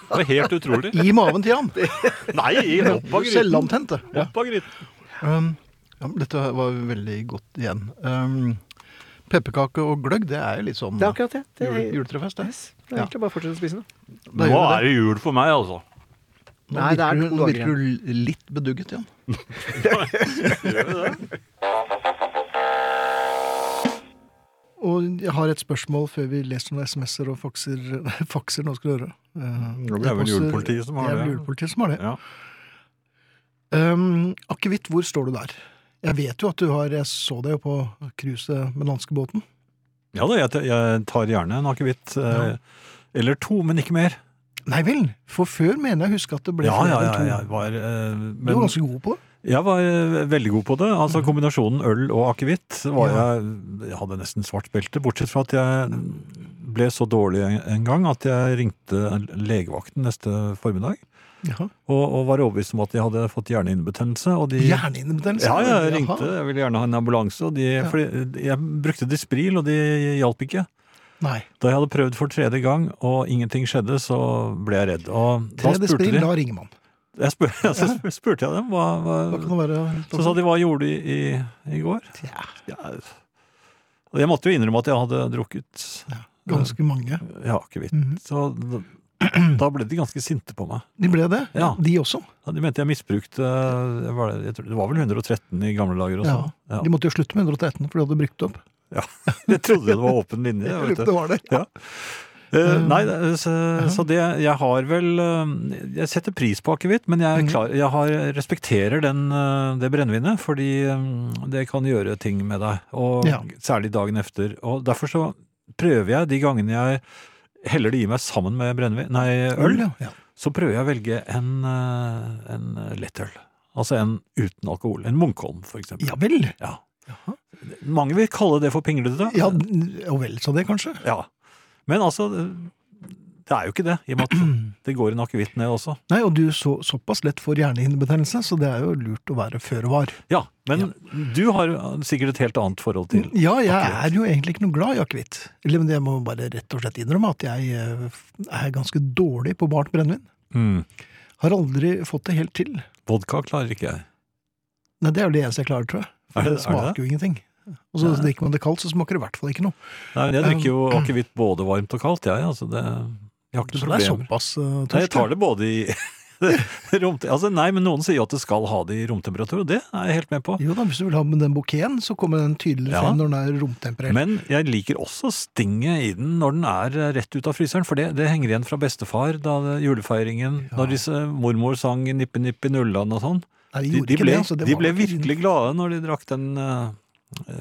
S3: var helt
S6: *laughs*
S3: utrolig.
S4: I maven til
S3: *laughs*
S4: han.
S3: Nei, i opp av gryten.
S4: Selvantente.
S3: Opp av gryten.
S4: Um, ja, men dette var veldig godt igjen. Um, Pepperkake og gløgg, det er jo litt sånn
S6: det er akkurat det. Det er,
S4: jule, juletrefest, det.
S6: yes, det er egentlig bare å fortsette å spise det.
S4: Da
S3: Nå
S4: gjør
S3: er det jul for meg, altså.
S4: Nå
S6: Nei, det er
S4: virker du-
S6: to
S4: Nå
S6: dager
S4: virker du litt bedugget
S3: *laughs*
S4: igjen. Og jeg har et spørsmål før vi leser noen SMS-er og fakser, *laughs* nei, fakser nå skal du høre. Eh,
S3: Det er vel
S4: passer-
S3: julepolitiet som har
S4: Det er vel
S3: det.
S4: julepolitiet som har det.
S3: Ja.
S4: Um, Akevitt, hvor står du der? Jeg vet jo at du har Jeg så deg jo på cruiset med danskebåten.
S3: Ja da, jeg, t- jeg tar gjerne en akevitt. Eh, Eller to, men ikke mer.
S4: Nei vel, for før mener jeg å huske at det ble
S3: Ja,
S4: flere
S3: ja, ja.
S4: enn to.
S3: jeg var, eh,
S4: Du var
S3: men
S4: ganske god på det.
S3: jeg var eh, veldig god på det. Altså Kombinasjonen øl og akevitt var
S4: Ja.
S3: jeg Jeg hadde nesten svart belte, bortsett fra at jeg ble så dårlig en- en gang at jeg ringte legevakten neste formiddag.
S4: Ja.
S3: Og, og var overbevist om at jeg hadde fått hjernehinnebetennelse. Og de
S4: Hjerneinnebetennelse.
S3: Ja, jeg
S4: Jaha.
S3: ringte. Jeg ville gjerne ha en ambulanse. Og de, fordi jeg brukte Dispril, og de hjalp ikke.
S4: Nei.
S3: Da jeg hadde prøvd for tredje gang, og ingenting skjedde, så ble jeg redd. Og da
S4: Tre
S3: spurte
S4: desperil,
S3: de
S4: da ringer man.
S3: *laughs* jeg spur, Så spurte jeg dem hva,
S4: Hva kan
S3: hva
S4: det være?
S3: Så sa de hva gjorde du i, i går? Ja. Og jeg måtte jo innrømme at jeg hadde drukket
S4: Ganske mange.
S3: ja, akevitt.
S4: Mhm.
S3: Så da, *clears throat* da ble de ganske sinte på meg.
S4: De ble det,
S3: Ja.
S4: de også.
S3: Ja, De mente jeg misbrukte jeg var, jeg tror, Det var vel 113 i gamle dager også?
S4: Ja.
S3: Ja.
S4: De måtte jo slutte med 113, for de hadde brukt opp.
S3: *laughs* Jeg trodde det var åpen linje.
S4: Jeg
S3: vet du.
S4: lurer på om det var det.
S3: Ja. Eh, nei, det- så, så det Jeg har vel eh, Jeg setter pris på akevitt, men
S4: Mhm.
S3: jeg, er klar, jeg har, respekterer den, eh, det brennevinet, fordi eh, det kan gjøre ting med deg. Og
S4: Ja.
S3: særlig dagen efter. Og derfor så prøver jeg, de gangene jeg heller det i meg sammen med brennevin, nei, øl,
S4: ja. ja.
S3: så prøver jeg å velge en, eh, en lettøl. Altså en uten alkohol. En Munkholm, for eksempel.
S4: Ja vel.
S3: Ja. Mange vil kalle det for pinglete.
S4: Ja, og vel så det, kanskje.
S3: Ja. Men altså, det er jo ikke det, i og med
S4: *clears throat*
S3: at det går en akevitt ned også.
S4: Nei, og du så såpass lett for hjernehinnebetennelse, så det er jo lurt å være før og var.
S3: Ja, men du har sikkert et helt annet forhold til
S4: Mm, Ja, jeg
S3: akevitt.
S4: er jo egentlig ikke noe glad i akevitt. Eller, men jeg må bare rett og slett innrømme at jeg eh, er ganske dårlig på bart brennevin.
S3: Mm.
S4: Har aldri fått det helt til.
S3: Vodka klarer ikke jeg.
S4: Nei, det er jo det eneste jeg klarer, tror jeg.
S3: Er
S4: For
S3: det-
S4: det,
S3: er det det?
S4: smaker jo ingenting. Og så drikker man det kaldt, så smaker det i hvert fall ikke noe.
S3: Nei, men jeg drikker jo akevitt både varmt og kaldt, jeg. Altså det, jeg har
S4: Du
S3: ikke
S4: tror Um, det er
S3: problemer.
S4: såpass uh,
S3: Nei, jeg tar det både i *laughs* romte- altså, Nei, men noen sier jo at det skal ha det i romtemperatur, og det er jeg helt med på.
S4: Jo da, hvis du vil ha med den bouqueten, så kommer den tydeligere
S3: Ja.
S4: frem når den er romtemperert.
S3: Men jeg liker også stinget i den når den er eh, rett ut av fryseren, for det, det henger igjen fra bestefar da det- julefeiringen,
S4: Ja.
S3: når disse mormor sang Nippe Nippe Nulland og sånn.
S4: Nei, de
S3: De,
S4: gjorde
S3: de,
S4: ikke
S3: ble,
S4: det, altså, det
S3: de
S4: var
S3: ble
S4: ikke-
S3: virkelig glade når de drakk den eh,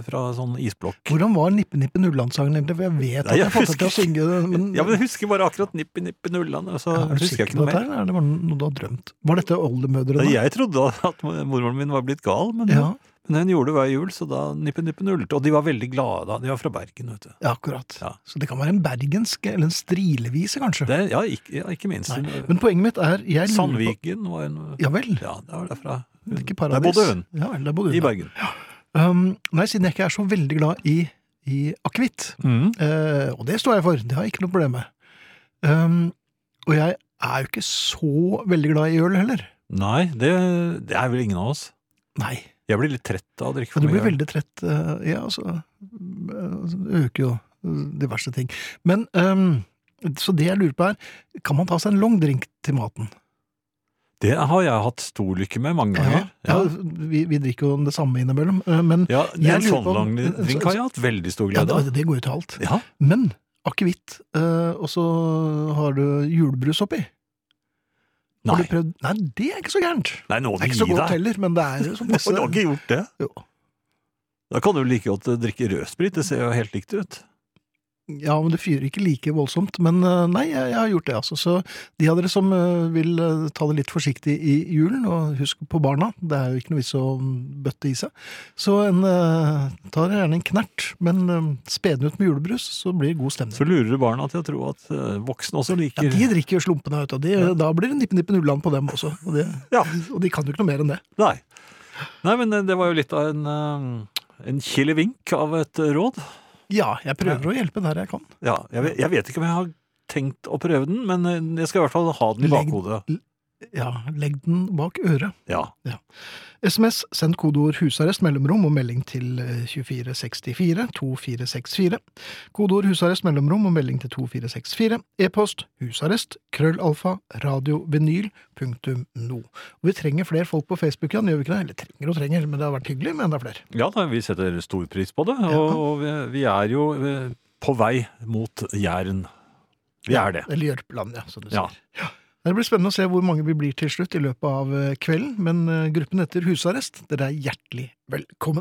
S3: fra sånn isblokk.
S4: Hvordan var Nippe Nippe Nulland-sangen egentlig? For jeg vet
S3: Nei,
S4: at
S3: jeg
S4: jeg fått deg til å
S3: husker
S4: synge det, men,
S3: Ja, men jeg husker bare akkurat Nippi Nippi Nulland, og så
S4: Ja, er du
S3: husker jeg
S4: sikker
S3: ikke
S4: på
S3: noe
S4: dette
S3: mer.
S4: her, eller er det bare noe du har drømt? Var dette oldemødrene?
S3: Nei, jeg trodde at mormoren min var blitt gal, men,
S4: ja,
S3: men hun gjorde det hver jul, så da Nippi Nippi Nullet. Og de var veldig glade da. De var fra Bergen, vet du.
S4: ja, akkurat.
S3: Ja.
S4: Så det kan være en bergensk, eller en strilevise kanskje.
S3: Det, ja, ikke, ja, ikke minst.
S4: Nei, men poenget mitt er jeg lurer
S3: Sandviken var en
S4: På, ja vel,
S3: Ja, det var derfra.
S4: det er ikke
S3: Der
S4: paradis.
S3: bodde hun,
S4: Ja vel, der bodde hun.
S3: i Bergen.
S4: Um, nei, siden jeg ikke er så veldig glad i, i akevitt,
S3: Mm.
S4: eh, og det står jeg for, det har jeg ikke noe problem med. Um, og jeg er jo ikke så veldig glad i øl heller.
S3: Nei, det, det er vel ingen av oss.
S4: Nei.
S3: Jeg blir litt trett av å drikke for
S4: Men du
S3: mye.
S4: blir veldig trett. eh, Ja, altså Det øker jo eh, diverse ting. Men ehm, Så det jeg lurer på er, kan man ta seg en long drink til maten?
S3: Det har jeg hatt stor lykke med mange ganger.
S4: Ja, vi, vi drikker jo det samme innimellom, eh, men
S3: Ja, det er en
S4: Jeg lurer
S3: sånn
S4: på om-
S3: lang
S4: en
S3: drink
S4: sånn-
S3: har jeg hatt veldig stor
S4: ja,
S3: glede av.
S4: det, det går jo til alt.
S3: Ja,
S4: Men akevitt, eh, og så har du julebrus oppi. Har
S3: Nei,
S4: du prøvd Nei, det er ikke så gærent.
S3: nei nå
S4: Det er
S3: gi
S4: ikke så godt
S3: deg.
S4: heller, men det er jo
S3: *laughs*
S4: sånn
S3: Du
S4: passe
S3: har da ikke gjort det.
S4: Jo.
S3: Da kan du like godt eh, drikke rødsprit, det ser jo helt likt ut.
S4: Ja, men det fyrer ikke like voldsomt. Men eh, nei, jeg, jeg har gjort det, altså. Så de av dere som eh, vil eh, ta det litt forsiktig i julen, og husk på barna, det er jo ikke noe vits å mm, bøtte i seg, så en, eh, ta dere gjerne en knert, men uh, spe den ut med julebrus, så blir det god
S3: Så
S4: stemning.
S3: lurer du barna til å tro at eh, voksne også
S4: Ja,
S3: liker
S4: de drikker jo slumpene, vet du. og De,
S3: Ja.
S4: Da blir det nippe-nippe-nulland på dem også. Og, det,
S3: Ja.
S4: og de kan jo ikke noe mer enn det.
S3: Nei. Nei, men eh, det var jo litt av en, eh, en kilevink av et eh, råd.
S4: Ja, jeg prøver å hjelpe der jeg kan.
S3: Ja, jeg, vet- jeg vet ikke om jeg har tenkt å prøve den, men eh, jeg skal i hvert fall ha den i
S4: Legg-
S3: bakhodet.
S4: Ja, legg den bak øret.
S3: Ja.
S4: SMS, send kodeord 'husarrest', mellomrom og melding til eh, 2464 2464. Kodeord 'husarrest', mellomrom og melding til 2464. E-post husarrest, krøllalfa, radiovinyl, punktum no. Og vi trenger flere folk på Facebook, Jan, gjør vi ikke det? Eller trenger og trenger, men det har vært hyggelig med enda flere.
S3: Ja, da, vi setter stor pris på det,
S4: Ja.
S3: og, og vi, vi er jo eh, på vei mot Jæren. Vi er det.
S4: Eller Jørpeland, ja, som du
S3: Ja.
S4: sier. Ja. Det blir spennende å se hvor mange vi blir til slutt i løpet av eh, kvelden, men eh, gruppen heter Husarrest. Dere er hjertelig velkommen.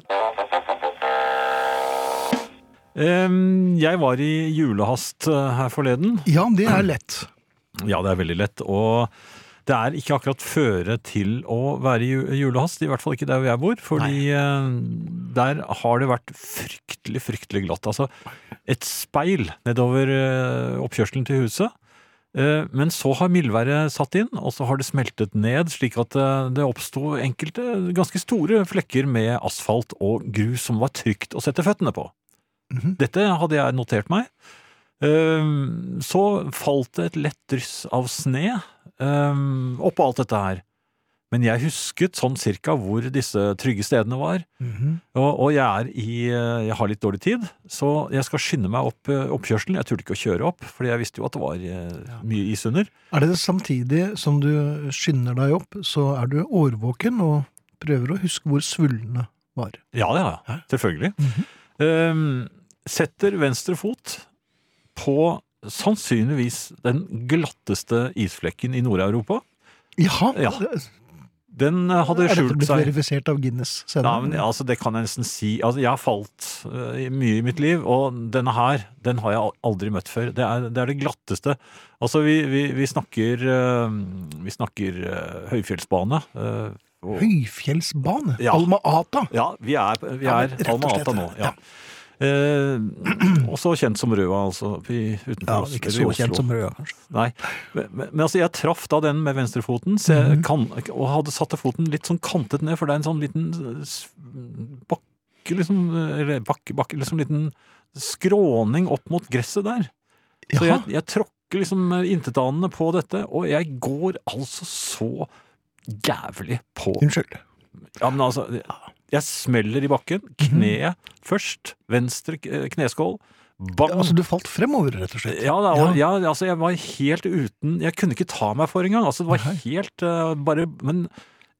S3: Em, Jeg var i julehast eh, her forleden.
S4: Ja, det er lett.
S3: Ja, det er veldig lett. Og det er ikke akkurat føre til å være i ju- julehast, i hvert fall ikke der hvor jeg bor. Fordi eh, der har det vært fryktelig, fryktelig glatt. Altså et speil nedover eh, oppkjørselen til huset. Eh, Men så har mildværet satt inn, og så har det smeltet ned, slik at eh, det oppsto enkelte ganske store flekker med asfalt og grus som var trygt å sette føttene på.
S4: Mhm.
S3: Dette hadde jeg notert meg. Ehm, Så falt det et lett dryss av sne ehm, oppå alt dette her. Men jeg husket sånn cirka hvor disse trygge stedene var.
S4: Mhm.
S3: Og, og jeg, er i, eh, jeg har litt dårlig tid, så jeg skal skynde meg opp eh, oppkjørselen. Jeg turte ikke å kjøre opp, fordi jeg visste jo at det var eh, mye is under.
S4: Er det samtidig som du skynder deg opp, så er du årvåken og prøver å huske hvor svullene var?
S3: Ja, det har
S4: Ja.
S3: jeg. Selvfølgelig.
S4: Mhm.
S3: Ehm, setter venstre fot på sannsynligvis den glatteste isflekken i Nord-Europa.
S4: Jaha!
S3: Ja, Den eh, hadde
S4: er dette
S3: skjult
S4: blitt
S3: seg
S4: verifisert av Guinness
S3: Ja,
S4: senere?
S3: men altså, det kan jeg nesten si. Altså, jeg har falt eh, mye i mitt liv, og denne her, den har jeg al- aldri møtt før. Det er det, er det glatteste. Altså, vi, vi, vi snakker, eh, vi snakker eh, høyfjellsbane. eh, og-
S4: Høyfjellsbane?
S3: Ja.
S4: Alma Ata?
S3: ja, vi er, vi
S4: Ja, men
S3: er
S4: rett og
S3: Alma
S4: slett,
S3: Ata nå.
S4: ja.
S3: Ja. Eh, *clears throat* også kjent som Røa, altså. i- Utenfor
S4: Ja,
S3: Os-
S4: ikke
S3: eller i
S4: så
S3: Oslo.
S4: kjent som Røa, kanskje.
S3: Nei, men, men men altså jeg traff da den med venstrefoten så jeg
S4: Mhm.
S3: kan, og hadde satt foten litt sånn kantet ned, for det er en sånn liten s- bakke, liksom, eller bakke, bakke, liksom liten skråning opp mot gresset der. Så
S4: Jaha.
S3: jeg, jeg tråkker liksom intetanende på dette, og jeg går altså så jævlig på
S4: Unnskyld.
S3: Ja, men altså, jeg smeller i bakken.
S4: Mhm.
S3: Kneet først. Venstre k- kneskål. Bang!
S4: Altså, du falt fremover, rett og slett.
S3: Ja, da, og, ja. altså jeg var helt uten Jeg kunne ikke ta meg for engang. Altså, det var
S4: Nei.
S3: helt eh, bare Men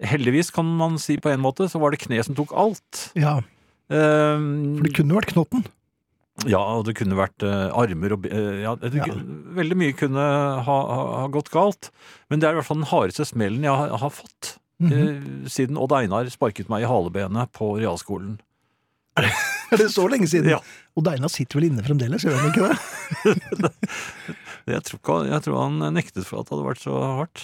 S3: heldigvis, kan man si på en måte, så var det kneet som tok alt.
S4: Ja,
S3: Ehm,
S4: for det kunne jo vært knotten. *laughs*
S3: ja, og det kunne vært eh, armer og be- eh, ja, det,
S4: Ja.
S3: kunne- Veldig mye kunne ha, ha, ha gått galt. Men det er i hvert fall den hardeste smellen jeg har, har fått.
S4: Mhm.
S3: eh, Siden Odd Einar sparket meg i halebenet på realskolen.
S4: Er det så lenge siden?
S3: Ja.
S4: Og Deina sitter vel inne fremdeles, gjør han ikke det?
S3: Jeg tror, ikke, han- jeg tror han nektet for at det hadde vært så hardt.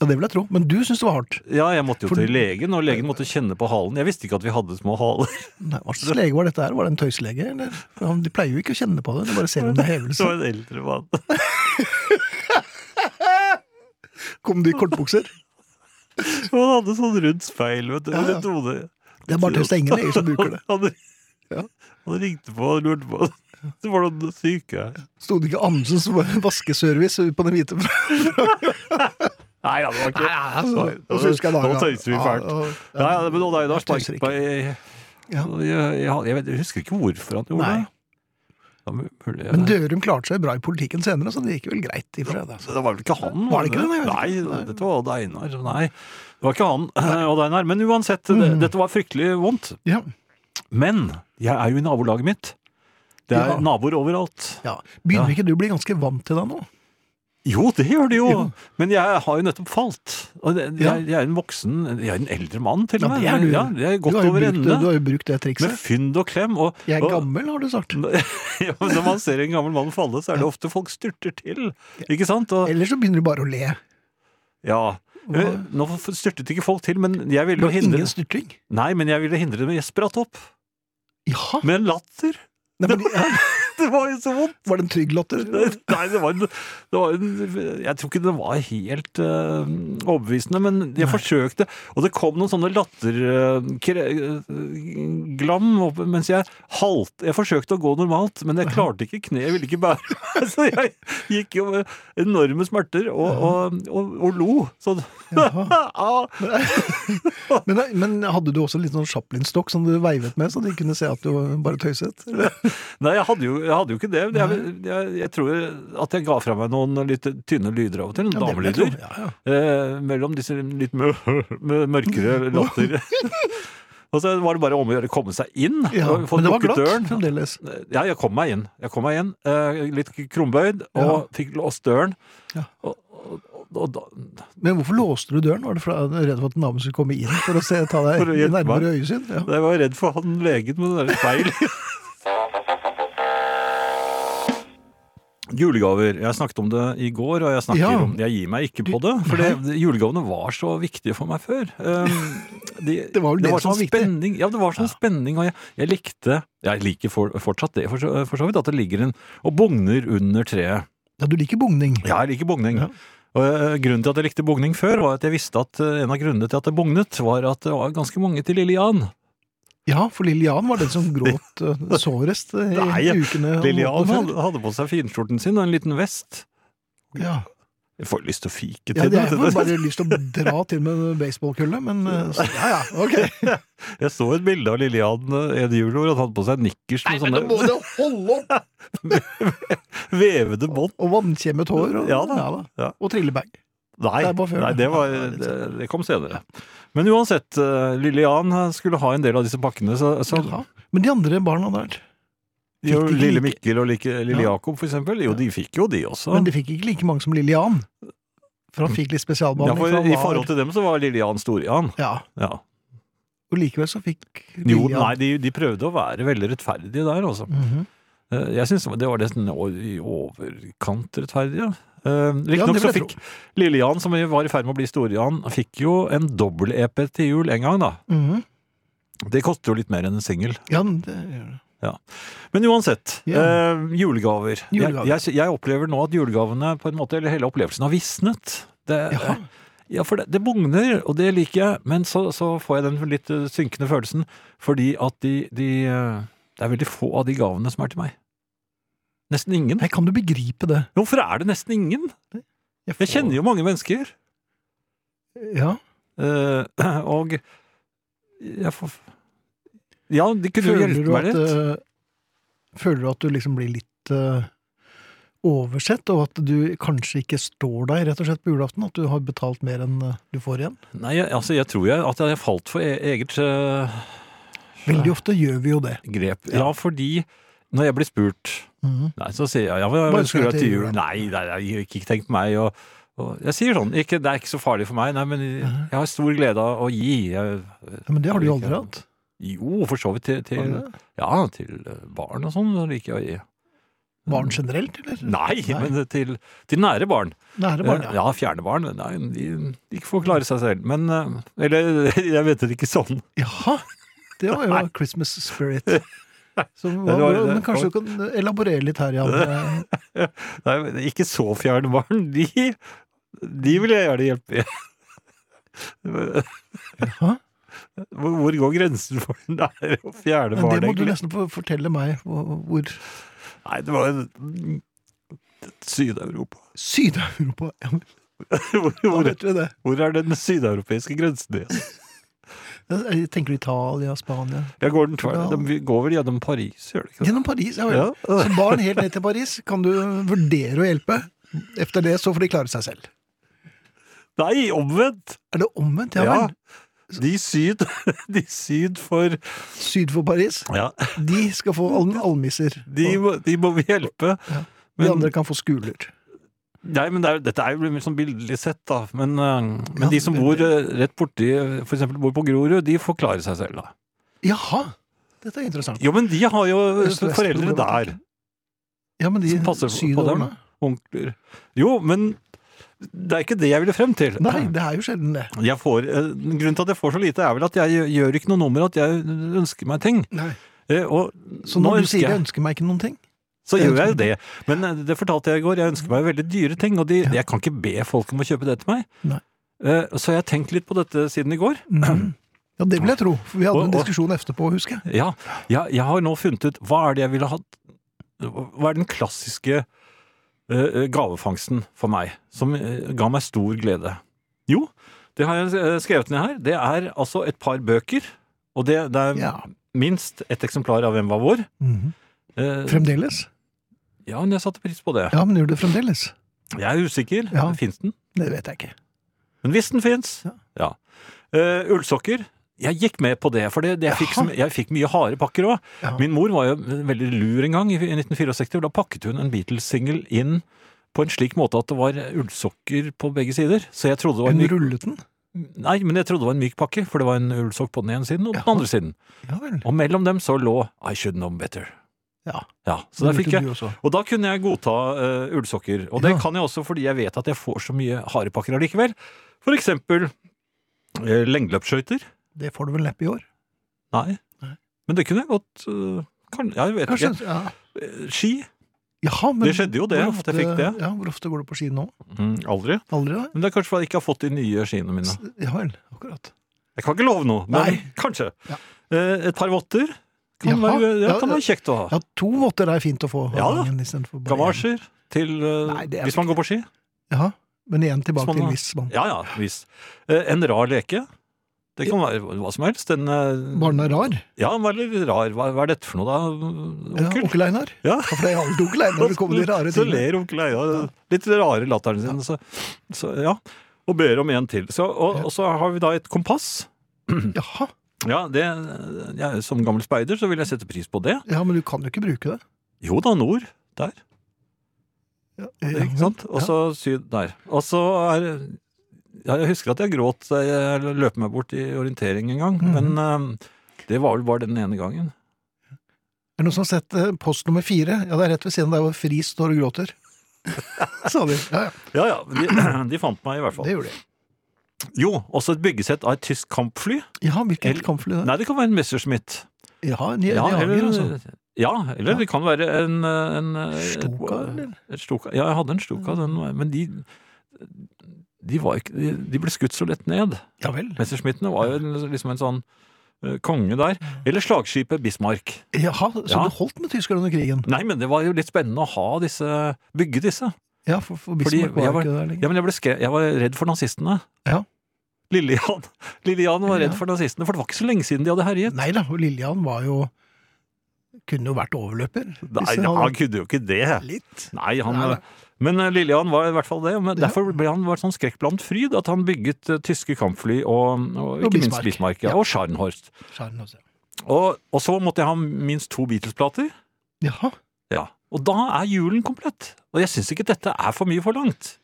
S4: Ja, det vil jeg tro. Men du syns det var hardt.
S3: Ja, jeg måtte jo
S4: For-
S3: til legen, og legen måtte kjenne på halen. Jeg visste ikke at vi hadde små haler. *laughs*
S4: Nei, Hva slags lege var dette her? Var det en tøyslege? Eller? For han- De pleier jo ikke å kjenne på det, de bare ser om det er
S3: Det
S4: hevelse.
S3: var en eldre mann. *laughs*
S4: Kom du i kortbukser?
S3: Og Han hadde sånn rundt speil, vet du.
S4: Ja, ja.
S3: rundt hodet.
S4: Det er bare tøys, det er ingen leger som bruker det.
S3: Han,
S4: Ja.
S3: han ringte på og lurte på det var noen syke her.
S4: Sto det ikke Andersens vaskeservice på den
S3: *laughs*
S4: hvite
S3: Nei, ja, det var ikke
S4: altså,
S3: Nå tøyser vi fælt. Ja, ja, men Odd Einar
S4: tøyser
S3: sparket
S4: ikke.
S3: meg i-
S4: Ja.
S3: jeg, jeg, jeg, vet- jeg husker ikke hvorfor han gjorde
S4: Nei.
S3: det. Ja, men mulig-
S4: Men Dørum klarte seg bra i politikken senere, så det gikk vel greit. i og for seg, altså.
S3: Så det var vel ikke han?
S4: Var det ikke det? Nei,
S3: Nei,
S4: jeg vet ikke.
S3: dette var Odd Einar. Nei, det var ikke han, *clears throat* Odd Einar. Men uansett, det,
S4: Mm.
S3: dette var fryktelig vondt.
S4: Ja.
S3: Men jeg er jo i nabolaget mitt. Det er
S4: Ja.
S3: naboer overalt.
S4: Ja. Begynner
S3: Ja.
S4: ikke du å bli ganske vant til det nå?
S3: Jo, det gjør det jo!
S4: Jo.
S3: Men jeg har jo nettopp falt. Og det,
S4: Ja.
S3: jeg, jeg er en voksen, jeg er en eldre mann til og
S4: Ja,
S3: med.
S4: det er du.
S3: Ja, jeg er
S4: Du
S3: godt
S4: har jo
S3: over
S4: brukt det- Du
S3: ende.
S4: har jo brukt det
S3: Med
S4: trikset.
S3: fynd og klem. Og,
S4: Jeg er
S3: og,
S4: gammel, har du sagt.
S3: *laughs* ja, men når man ser en gammel mann falle, så er det ofte folk styrter til. Ikke sant? Og,
S4: Eller så begynner du bare å le.
S3: ja. Eh, Nå styrtet ikke folk til, men jeg ville jo
S4: Men
S3: hindre
S4: ingen styrting.
S3: Nei, men jeg ville hindre det, men jeg spratt opp.
S4: Ja.
S3: Med en latter! *laughs*
S4: Nei, men, ja.
S3: Det var jo så vondt!
S4: Var det en trygg
S3: *laughs*
S4: latter?
S3: Nei, det var, en, det var en Jeg tror ikke den var helt eh, overbevisende, men jeg forsøkte. Og det kom noen sånne eh, latterglam eh, opp mens jeg halt. Jeg forsøkte å gå normalt, men jeg klarte ikke. Kneet ville ikke bære *laughs* meg, så jeg gikk jo med enorme smerter og, og, og, og lo. Ah. Sånn. *laughs* Au.
S4: Men, men hadde du også en liten sånn Chaplin-stokk som du veivet med, så de kunne se at du bare tøyset? Eller?
S3: Nei, jeg hadde jo, jeg hadde jo ikke det. men Jeg, jeg, jeg tror at jeg ga fra meg noen litt tynne lyder av og til. Noen
S4: Ja, det vil jeg
S3: damelyder.
S4: tro. Ja, ja.
S3: Eh, mellom disse litt mø mø-
S4: *laughs*
S3: mørkere latter. og så var det bare om å gjøre å komme seg inn.
S4: Ja,
S3: og få
S4: men det var
S3: lukket
S4: glatt
S3: døren.
S4: fremdeles.
S3: Ja, jeg kom meg inn. Jeg kom meg inn eh, litt krumbøyd, og
S4: Ja.
S3: fikk låst døren.
S4: Ja.
S3: Og, og, og, og da,
S4: Men hvorfor låste du døren? Var det for, redd for at naboen skulle komme inn for å se, ta
S3: *laughs* For å
S4: deg i
S3: hjelpe meg.
S4: nærmere øyesyn? Ja.
S3: *laughs* jeg var redd for han legen med den der feil. *laughs* Julegaver. Jeg snakket om det i går, og jeg snakker
S4: Ja.
S3: om Jeg gir meg ikke på det. For det, julegavene var så viktige for meg før.
S4: *laughs*
S3: Um, de-
S4: Det var jo det som
S3: sånn
S4: var viktig.
S3: spenning. Ja, det var sånn spenning, og jeg, jeg likte Jeg liker for, fortsatt det, for, så- for så vidt, at det ligger en og bugner under treet.
S4: ja, du liker bugning.
S3: Ja, jeg liker bugning.
S4: Ja.
S3: Og eh, Grunnen til at jeg likte bugning før, var at jeg visste at eh, en av grunnene til at det bugnet, var at det var ganske mange til Lille Jan.
S4: Ja, for Lillian var den som
S3: *laughs*
S4: gråt eh, sårest eh, i
S3: Nei,
S4: ukene og
S3: Lillian
S4: månedene
S3: hadde, hadde på seg finskjorten sin og en liten vest.
S4: før. Ja.
S3: Jeg får lyst til å fike
S4: Ja,
S3: til
S4: jeg får
S3: det.
S4: bare lyst til å dra til med en baseballkulle, men eh, så, ja ja,
S3: *laughs*
S4: ok.
S3: *laughs* Jeg så et bilde av Lillian eh, en jul hvor han hadde på seg nikkers med sånne
S4: du holde opp!
S3: vevede bånd.
S4: Og vannkjemmet hår. Og,
S3: Ja da, ja.
S4: og trillebag.
S3: Nei,
S4: Det er bare før,
S3: nei
S4: det.
S3: det, var,
S4: Ja, det er litt sånn.
S3: det, det kom senere. Men uansett, eh, Lillian skulle ha en del av disse pakkene. Så, så
S4: Ja. Men de andre barna der,
S3: jo,
S4: Fikk de ikke
S3: Lille
S4: like-
S3: Mikkel og like, Lille
S4: Ja.
S3: Jakob, for eksempel. Jo, de fikk jo de også.
S4: men de fikk ikke like mange som Lillian. For han fikk litt
S3: Ja,
S4: spesialbehandling.
S3: for
S4: han
S3: I
S4: var-
S3: forhold til dem så var Lillian Stor-Jan.
S4: Ja,
S3: Ja.
S4: og likevel så fikk
S3: Jo,
S4: Lillian-
S3: nei, de, de prøvde å være veldig rettferdige der, altså.
S4: Mhm.
S3: Eh, Jeg syns det var nesten o- i overkant rettferdige. Eh,
S4: Ja,
S3: Riktignok
S4: det
S3: så
S4: vil jeg
S3: fikk Lille-Jan, som var i ferd med å bli Store-Jan, fikk jo en dobbel-EP til jul en gang, da.
S4: Mhm.
S3: Det koster jo litt mer enn en singel.
S4: Ja, men det gjør det.
S3: Men uansett,
S4: Ja.
S3: eh, julegaver.
S4: Julegaver.
S3: Jeg, jeg, jeg opplever nå at julegavene, på en måte, eller hele opplevelsen, har visnet. Det, eh,
S4: Jaha.
S3: Ja, for det, det bugner, og det liker jeg, men så, så får jeg den litt eh, synkende følelsen fordi at de, de eh, Det er veldig få av de gavene som er til meg. Nesten ingen.
S4: Nei, kan du begripe det?
S3: Hvorfor er det nesten ingen?
S4: får-
S3: Jeg kjenner jo mange mennesker,
S4: Ja.
S3: eh, *clears throat* og Jeg får... Ja, det kunne jo
S4: Føler
S3: hjelpe
S4: du,
S3: meg
S4: at,
S3: litt.
S4: eh, føler du at du liksom blir litt eh, oversett, og at du kanskje ikke står deg rett og slett på julaften? At du har betalt mer enn eh, du får igjen?
S3: Nei, jeg- altså, jeg tror jeg, at jeg falt for e eget eh,
S4: Veldig ofte gjør vi jo det.
S3: grep. Ja, fordi når jeg blir spurt
S4: Mhm.
S3: Nei, så sier jeg ja, hva
S4: Hva
S3: ønsker du
S4: ønsker du
S3: deg til
S4: til
S3: jul?
S4: jul, da?
S3: Nei, nei, nei, ikke, ikke tenk på meg. Og, og jeg sier sånn, ikke, det er ikke så farlig for meg, nei, men jeg har stor glede av å gi. Jeg,
S4: Ja, men det har du jo
S3: Ikke-
S4: aldri hatt.
S3: jo, for så vidt til,
S4: Har
S3: til,
S4: du det?
S3: ja, til barn og sånn, så liker jeg å gi.
S4: Barn generelt, eller?
S3: Mm. Nei, men til, til nære barn.
S4: Nære barn,
S3: Eh,
S4: ja.
S3: ja, fjerne barn. Nei, de, de får klare seg selv. Men eh, Eller *laughs* jeg mente det ikke sånn.
S4: Jaha! Det var jo Christmas
S3: *laughs*
S4: spirit. Så, hva,
S3: Det var-
S4: hvordan- men
S3: det-
S4: kanskje du kan eh, elaborere litt her, Jan.
S3: *laughs*
S4: Eh,
S3: Nei, men ikke så fjerne barn. De, de vil jeg gjerne hjelpe. *laughs*
S4: Jaha.
S3: Hvor hvor går grensen for *laughs* nære og fjerne
S4: Men
S3: barn,
S4: det må du
S3: egentlig?
S4: nesten få fortelle meg hvor hvor-
S3: Nei, det var en- Syd-Europa. *laughs*
S4: Syd-Europa! Ja, men
S3: Hvor,
S4: da
S3: hvor,
S4: vet vi det.
S3: hvor er den sydeuropeiske grensen igjen?
S4: Jeg tenker Italia, Spania
S3: Jeg går den tvers. De går vel gjennom Paris, gjør de ikke det?
S4: Gjennom Paris, ja vel.
S3: Ja.
S4: *laughs* Så barn helt ned til Paris kan du vurdere å hjelpe. Efter det så får de klare seg selv.
S3: Nei, omvendt!
S4: Er det omvendt? Ja
S3: Ja.
S4: vel.
S3: De syd, *laughs* de syd for
S4: Syd for Paris.
S3: Ja,
S4: De skal få al almisser.
S3: *laughs* de, må- de må vi hjelpe.
S4: og de
S3: men-
S4: andre kan få skuler.
S3: Nei, men det er, dette er jo litt sånn bildelig sett, da. Men, eh, men
S4: Ja,
S3: de som
S4: det-
S3: bor eh, rett borti, f.eks. bor på Grorud, de får klare seg selv, da.
S4: Jaha! Dette er interessant.
S3: Jo, men de har jo
S4: Øst-vest
S3: foreldre der.
S4: problematikken. Ja, men de
S3: Som passer på- på
S4: sydover,
S3: dem.
S4: da?
S3: Onkler. Jo, men det er ikke det jeg ville frem til.
S4: Nei, det er jo sjelden det.
S3: Jeg får, eh, grunnen til at jeg får så lite, er vel at jeg gjør ikke noe nummer at jeg ønsker meg ting. Eh, Og
S4: Så når du sier
S3: jeg-
S4: 'jeg ønsker meg ikke noen ting'
S3: Så
S4: Jeg
S3: gjør jeg jo
S4: ønsker
S3: det. Men eh, det fortalte jeg i går, jeg ønsker meg veldig dyre ting, og de, jeg kan ikke be folk om å kjøpe det til meg.
S4: Nei.
S3: Eh, Så jeg har tenkt litt på dette siden i går.
S4: Mm. Ja, det vil jeg tro. For vi hadde
S3: Og-
S4: en
S3: og-
S4: diskusjon etterpå, husker jeg.
S3: Ja, jeg, jeg har nå funnet ut hva er det jeg ville hatt Hva er den klassiske eh, gavefangsten for meg, som eh, ga meg stor glede? Jo, det har jeg eh, skrevet ned her. Det er altså et par bøker, og det, det er
S4: Ja.
S3: minst ett eksemplar av Hvem var vår.
S4: Mhm.
S3: Eh,
S4: Fremdeles?
S3: Ja, men jeg satte pris på det.
S4: Ja, men gjør du det fremdeles?
S3: Jeg er usikker.
S4: Ja.
S3: Fins den?
S4: Det vet jeg ikke.
S3: Men hvis den fins, ja. Eh, ullsokker. Jeg gikk med på det, for det, det jeg, fikk,
S4: Jaha.
S3: som- jeg fikk mye harde pakker òg.
S4: Ja.
S3: Min mor var jo veldig lur en gang, i 1964. og Da pakket hun en Beatles-singel inn på en slik måte at det var ullsokker på begge sider. Så jeg trodde det var en
S4: Hun
S3: myk,
S4: rullet den?
S3: nei, men jeg trodde det var en myk pakke, for det var en ullsokk på den ene siden og på den
S4: Jaha.
S3: andre siden.
S4: Ja vel.
S3: Og mellom dem så lå I Should Know Better.
S4: Ja.
S3: Ja, så der
S4: Det
S3: fikk
S4: lurte
S3: jeg
S4: du også.
S3: og da kunne jeg godta eh, ullsokker. Og det
S4: Ja.
S3: kan jeg også fordi jeg vet at jeg får så mye harepakker allikevel. For eksempel eh, lengdeløpsskøyter.
S4: Det får du vel neppe i år?
S3: Nei.
S4: Nei.
S3: Men det kunne jeg godt eh, kan, Jeg vet
S4: Kanskje?
S3: ikke.
S4: Ja.
S3: Eh, Ski.
S4: Jaha, men
S3: Det skjedde jo det,
S4: hvor
S3: at jeg fikk det.
S4: Ja, Hvor ofte går du på ski nå?
S3: Mm, aldri.
S4: Aldri? da?
S3: Men det er kanskje fordi jeg ikke har fått de nye skiene mine.
S4: Ja vel, akkurat.
S3: Jeg kan ikke love noe, men
S4: Nei.
S3: kanskje.
S4: Ja.
S3: Eh, et par votter kan,
S4: Jaha.
S3: være, ja,
S4: Ja,
S3: kan
S4: ja.
S3: være kjekt å ha.
S4: Ja, To votter er fint å få av
S3: Ja da.
S4: gangen istedenfor bare én.
S3: Gamasjer til eh,
S4: Nei, det er
S3: Hvis man går på ski.
S4: Ja, men igjen tilbake
S3: Hvis man
S4: til
S3: har-
S4: hvis man
S3: Ja ja, hvis. Eh, en rar leke. Det kan være hva som helst. En eh,
S4: Barna er rar.
S3: Ja, han var litt rar. Hva, hva er dette for noe, da,
S4: Ja,
S3: onkel?
S4: onkel Einar.
S3: Ja.
S4: Ja, For det er alltid onkel Einar det kommer de rare
S3: Så
S4: tingene.
S3: ler onkel Einar. Litt rare latteren sin. Så, så ja. Og ber om en til. Så, og, og så har vi da et kompass.
S4: Jaha.
S3: Ja, det, jeg, Som gammel speider så vil jeg sette pris på det.
S4: Ja, men du kan jo ikke bruke det.
S3: Jo da, nord der.
S4: Ja,
S3: Ikke sant? Og så syd der. Og så er ja, Jeg husker at jeg gråt. Jeg løp meg bort i orientering en gang.
S4: Mhm.
S3: Men eh, det var vel bare den ene gangen.
S4: Er det noen som har sett eh, post nummer fire? Ja, det er rett ved siden der hvor Fri står og
S3: *laughs*
S4: gråter. Sa de. Ja, ja.
S3: Ja ja, de, de *clears throat* fant meg i hvert fall.
S4: Det gjorde de.
S3: Jo, også et byggesett av et tysk kampfly.
S4: Ja, hvilket
S3: Eller-
S4: kampfly det er?
S3: Nei, det kan være en Messerschmitt.
S4: Jaha, en ja,
S3: eller,
S4: jager, altså.
S3: ja, eller det kan være en, en eh,
S4: Stuka, eller?
S3: Et Stuka. Ja, jeg hadde en Stuka, den, var- men de de, var ikke, de, de ble skutt så lett ned.
S4: Ja vel.
S3: Messerschmittene var jo en- liksom en sånn eh, konge der. Eller slagskipet Bismarck.
S4: Jaha, så
S3: Ja.
S4: det holdt med tyskerne under krigen?
S3: Nei, men det var jo litt spennende å ha disse, bygge disse.
S4: Ja, for, for
S3: Fordi
S4: Bismarck var,
S3: jeg var-
S4: ikke der lenger.
S3: Ja, men jeg, ble skre, jeg var redd for nazistene.
S4: Ja.
S3: Lillian, Lillian var redd for nazistene, for det var ikke så lenge siden de hadde herjet.
S4: Nei da, og Lillian var jo Kunne jo vært overløper.
S3: Nei, han kunne jo ikke det.
S4: Litt.
S3: Nei,
S4: Nei,
S3: han,
S4: nei.
S3: men eh, Lillian var i hvert fall det. Men
S4: Ja.
S3: derfor ble han var sånn skrekkblandet fryd at han bygget eh, tyske kampfly og, og ikke minst
S4: Bismarck.
S3: Bismarck ja,
S4: Ja.
S3: og Scharnhorst.
S4: Skjæren også.
S3: Og, og så måtte jeg ha minst to Beatles-plater.
S4: Jaha.
S3: Ja. Og da er julen komplett. Og jeg syns ikke dette er for mye forlangt.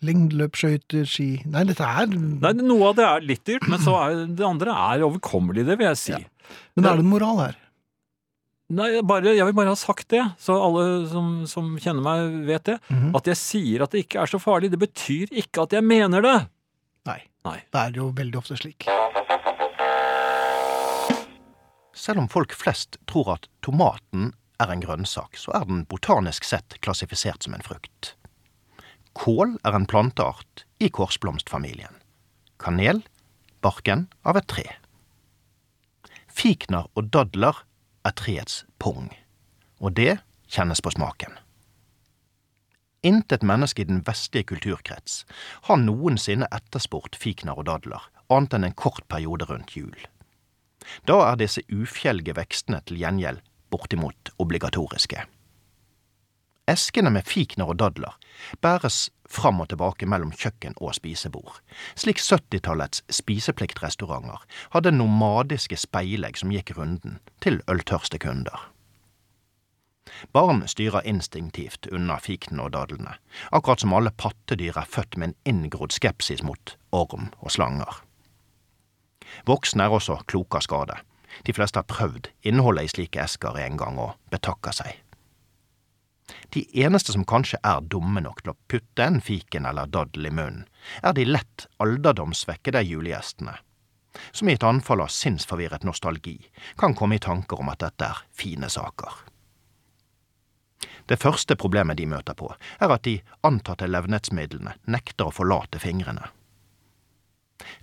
S4: Lengdeløpsskøyter, ski Nei, dette er
S3: Nei, noe av det er litt dyrt, men så er, det andre er overkommelig, det vil jeg si.
S4: Men er det en moral her?
S3: Nei, jeg bare, jeg vil bare ha sagt det, så alle som, som kjenner meg, vet det.
S4: Mhm.
S3: At jeg sier at det ikke er så farlig, det betyr ikke at jeg mener det.
S4: Nei.
S3: Nei.
S4: Det er jo veldig ofte slik.
S7: Selv om folk flest tror at tomaten er en grønnsak, så er den botanisk sett klassifisert som en frukt. Kål er en planteart i korsblomstfamilien. Kanel barken av et tre. Fikner og dadler er treets pung, og det kjennes på smaken. Intet menneske i den vestlige kulturkrets har noensinne etterspurt fikner og dadler, annet enn en kort periode rundt jul. Da er disse ufjelge vekstene til gjengjeld bortimot obligatoriske. Eskene med fikner og dadler bæres fram og tilbake mellom kjøkken og spisebord, slik 70-tallets spisepliktrestauranter hadde nomadiske speilegg som gikk runden til øltørste kunder. Barn styrer instinktivt unna fiknene og dadlene, akkurat som alle pattedyr er født med en inngrodd skepsis mot orm og slanger. Voksne er også kloke av skade. De fleste har prøvd innholdet i slike esker en gang og betakker seg. De eneste som kanskje er dumme nok til å putte en fiken eller daddel i munnen, er de lett alderdomssvekkede julegjestene, som i et anfall av sinnsforvirret nostalgi kan komme i tanker om at dette er fine saker. Det første problemet de møter på, er at de antatte levnetsmidlene nekter å forlate fingrene.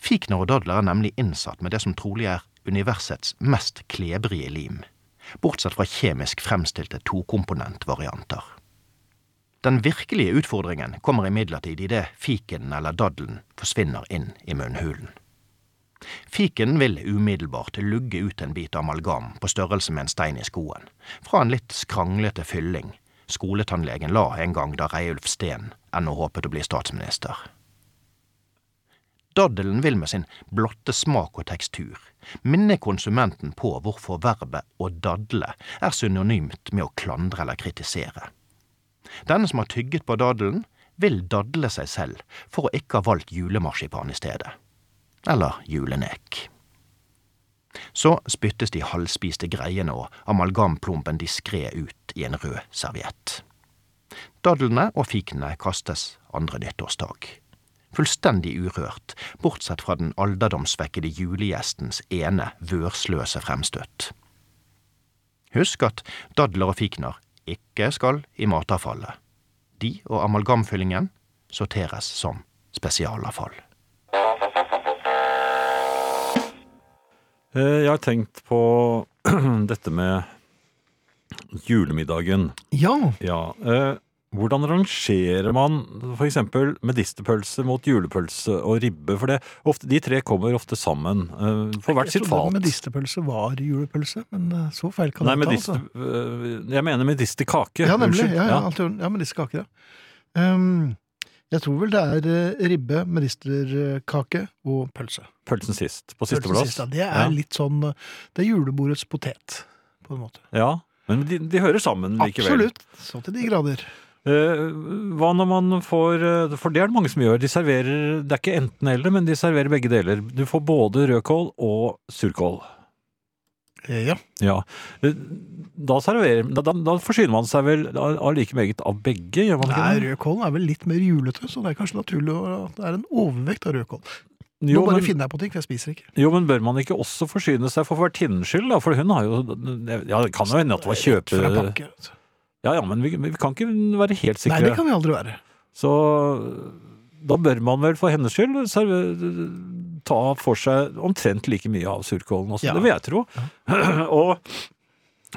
S7: Fikner og dadler er nemlig innsatt med det som trolig er universets mest klebrige lim, bortsett fra kjemisk fremstilte tokomponentvarianter. Den virkelige utfordringen kommer imidlertid idet fiken eller daddelen forsvinner inn i munnhulen. Fiken vil umiddelbart lugge ut en bit amalgam på størrelse med en stein i skoen, fra en litt skranglete fylling skoletannlegen la en gang da Reiulf Steen ennå håpet å bli statsminister. Daddelen vil med sin blotte smak og tekstur minne konsumenten på hvorfor verbet å dadle er synonymt med å klandre eller kritisere. Den som har tygget på daddelen, vil dadle seg selv for å ikke ha valgt julemarsipan i stedet. Eller julenek. Så spyttes de halvspiste greiene og amalgamplompen diskré ut i en rød serviett. Dadlene og fikene kastes andre nyttårsdag fullstendig urørt, bortsett fra den alderdomsvekkede julegjestens ene vørsløse fremstøt. Husk at dadler og fikner ikke skal i matavfallet. De og amalgamfyllingen sorteres som spesialavfall.
S3: Eh, Jeg har tenkt på *clears throat* dette med julemiddagen.
S4: Ja,
S3: Ja, eh, hvordan rangerer man for eksempel medisterpølse mot julepølse og ribbe? For det, ofte, de tre kommer ofte sammen, eh, på hvert sitt
S4: Jeg trodde
S3: fat.
S4: medisterpølse var julepølse, men eh, så feil kan
S3: Nei,
S4: det ta.
S3: medister,
S4: Altså.
S3: eh, jeg mener medisterkake.
S4: Ja, nemlig.
S3: Unnskyld.
S4: Ja, ja, alt i orden. ja medisterkake, ja. Um, jeg tror vel det er eh, ribbe, medisterkake og pølse.
S3: Pølsen sist, på siste
S4: Pølse
S3: plass.
S4: sist, ja. Det er
S3: Ja.
S4: litt sånn eh, Det er julebordets potet, på en måte.
S3: Ja, men de, de hører sammen likevel.
S4: Absolutt. Så til de grader.
S3: Eh, hva når man får eh, For det er det mange som gjør. De serverer Det er ikke enten eller, men de serverer begge deler. Du får både rødkål og surkål.
S4: Eh, Ja.
S3: Ja. Eh, Da, serverer, da, da, da forsyner man seg vel av av like meget av begge, gjør man ikke
S4: Nei,
S3: det?
S4: Rødkålen er vel litt mer julete, så det er kanskje naturlig å- at det er en overvekt av rødkål. Nå
S3: Jo
S4: bare
S3: men,
S4: finner jeg på ting, for jeg spiser ikke.
S3: jo, men bør man ikke også forsyne seg for vertinnens skyld, da? For hun har jo Ja, det kan jo hende at det var kjøpe...
S4: Fra pakke.
S3: Ja, ja, men vi, vi kan ikke være helt sikre.
S4: Nei, det kan vi aldri være.
S3: Så eh, da bør man vel for hennes skyld serve- ta for seg omtrent like mye av surkålen også,
S4: Ja.
S3: det vil jeg tro. *clears throat* Og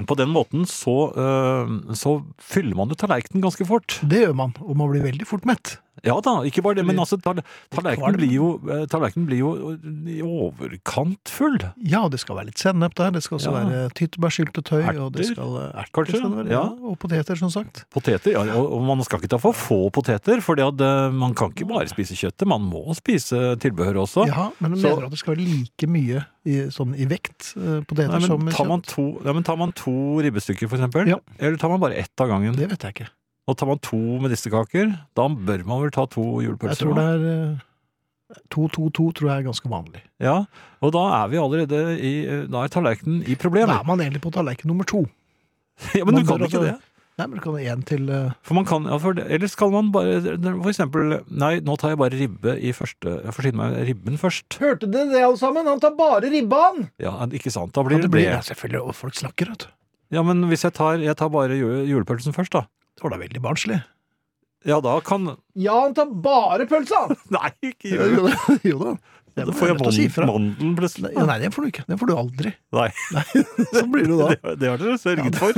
S3: på den måten så, eh, så fyller man jo tallerkenen ganske fort.
S4: Det gjør man, og man blir veldig fort mett.
S3: Ja da, ikke bare det, men altså, tal- tallerkenen blir, jo- eh, tallerkenen blir jo eh, i overkant full.
S4: Ja, det skal være litt sennep der, det skal også
S3: Ja.
S4: være tyttebærsyltetøy, og det
S3: Erter,
S4: skal eh, erter,
S3: kanskje?
S4: skal det være,
S3: Ja.
S4: ja. Og poteter, som sagt.
S3: Poteter, ja, og og man skal ikke ta for få poteter, for man kan ikke bare spise kjøttet, man må spise tilbehør også.
S4: Ja, men jeg
S3: Så-
S4: mener at det skal være like mye i, sånn i vekt eh, poteter
S3: Nei,
S4: som
S3: men
S4: i
S3: tar man
S4: kjøtt?
S3: to, nei, men tar man to ribbestykker, for eksempel,
S4: Ja.
S3: eller tar man bare ett av gangen?
S4: Det vet jeg ikke.
S3: Og tar man to medisterkaker, da bør man vel ta to julepølser?
S4: Jeg tror
S3: da?
S4: det er eh, 2-2-2 tror jeg er ganske vanlig.
S3: Ja, og da er vi allerede i Da er tallerkenen i
S4: Da
S3: problemer.
S4: er man egentlig på tallerken nummer to.
S3: *laughs* Ja, men du
S4: man
S3: kan
S4: bør
S3: ikke
S4: altså-
S3: det.
S4: Nei, men du kan ha én til eh,
S3: For man kan, ja, for det, ellers kan man bare For eksempel Nei, nå tar jeg bare ribbe i første Jeg får skynde meg ribben først.
S6: Hørte dere det, alle sammen? Han tar bare ribban!
S3: Ja, ikke sant? Da
S4: ja,
S3: blir
S4: det
S3: det
S4: blir, ja,
S3: det.
S4: Selvfølgelig, og folk snakker, vet du.
S3: Ja, men hvis jeg tar Jeg tar bare ju- julepølsen først, da.
S4: Det var da veldig
S3: *laughs*
S4: barnslig.
S3: Ja, da kan *laughs*
S6: Ja, han tar bare pølsa!
S3: Nei, ikke
S4: Jo
S3: gjør det!
S4: da. *laughs* jo da. Det
S3: Da
S4: må
S3: får jeg
S4: lov til å si
S3: mand-
S4: ifra.
S3: mandelen plutselig.
S4: Ja, Nei, det får du ikke. Det får du
S3: *laughs*
S4: aldri.
S3: Nei.
S4: Sånn blir *laughs* det da.
S3: Det, det har dere sørget for.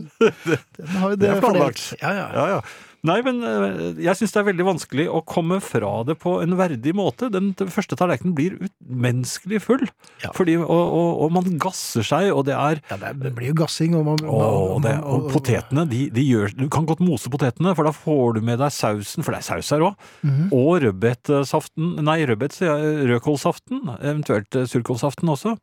S4: Den har jo
S3: Det er planlagt.
S4: fordelt. Ja, ja.
S3: Ja, ja. Nei, men eh, jeg syns det er veldig vanskelig å komme fra det på en verdig måte. Den t- første tallerkenen blir umenneskelig full,
S4: Ja.
S3: fordi, og, og, og man gasser seg, og det er
S4: ja det, er- det blir jo gassing, og man
S3: Å, det, og potetene, de, de gjør Du kan godt mose potetene, for da får du med deg sausen, for det er saus her òg,
S4: Mhm.
S3: og rødbetsaften Nei, rødbet, sier jeg, rødkålsaften, eventuelt eh, surkålsaften også.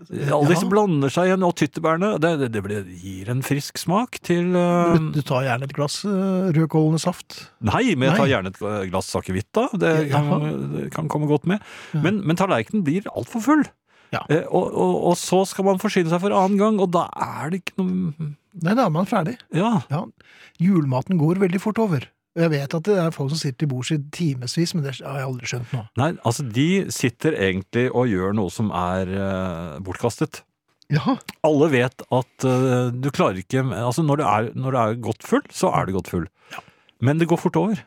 S3: Alle disse blander seg igjen, og tyttebærene. Det, det, det blir, gir en frisk smak til eh,
S4: Du, du tar gjerne et glass eh, rødkålende saft.
S3: Nei, men jeg tar
S4: Nei.
S3: gjerne et glass akevitt, da. Det
S4: Ja,
S3: kan, det kan komme godt med. Men, men tallerkenen blir altfor full.
S4: Ja.
S3: Eh, og, og, og så skal man forsyne seg for annen gang, og da er det ikke noe
S4: Nei, da er man ferdig.
S3: Ja.
S4: Ja, julematen går veldig fort over. Og Jeg vet at det er folk som sitter til bords i timevis, men det har jeg aldri skjønt nå.
S3: Nei, altså, de sitter egentlig og gjør noe som er eh, bortkastet.
S4: Ja,
S3: Alle vet at eh, du klarer ikke Altså, når du, er, når du er godt full, så er du godt full. Men det går fort over.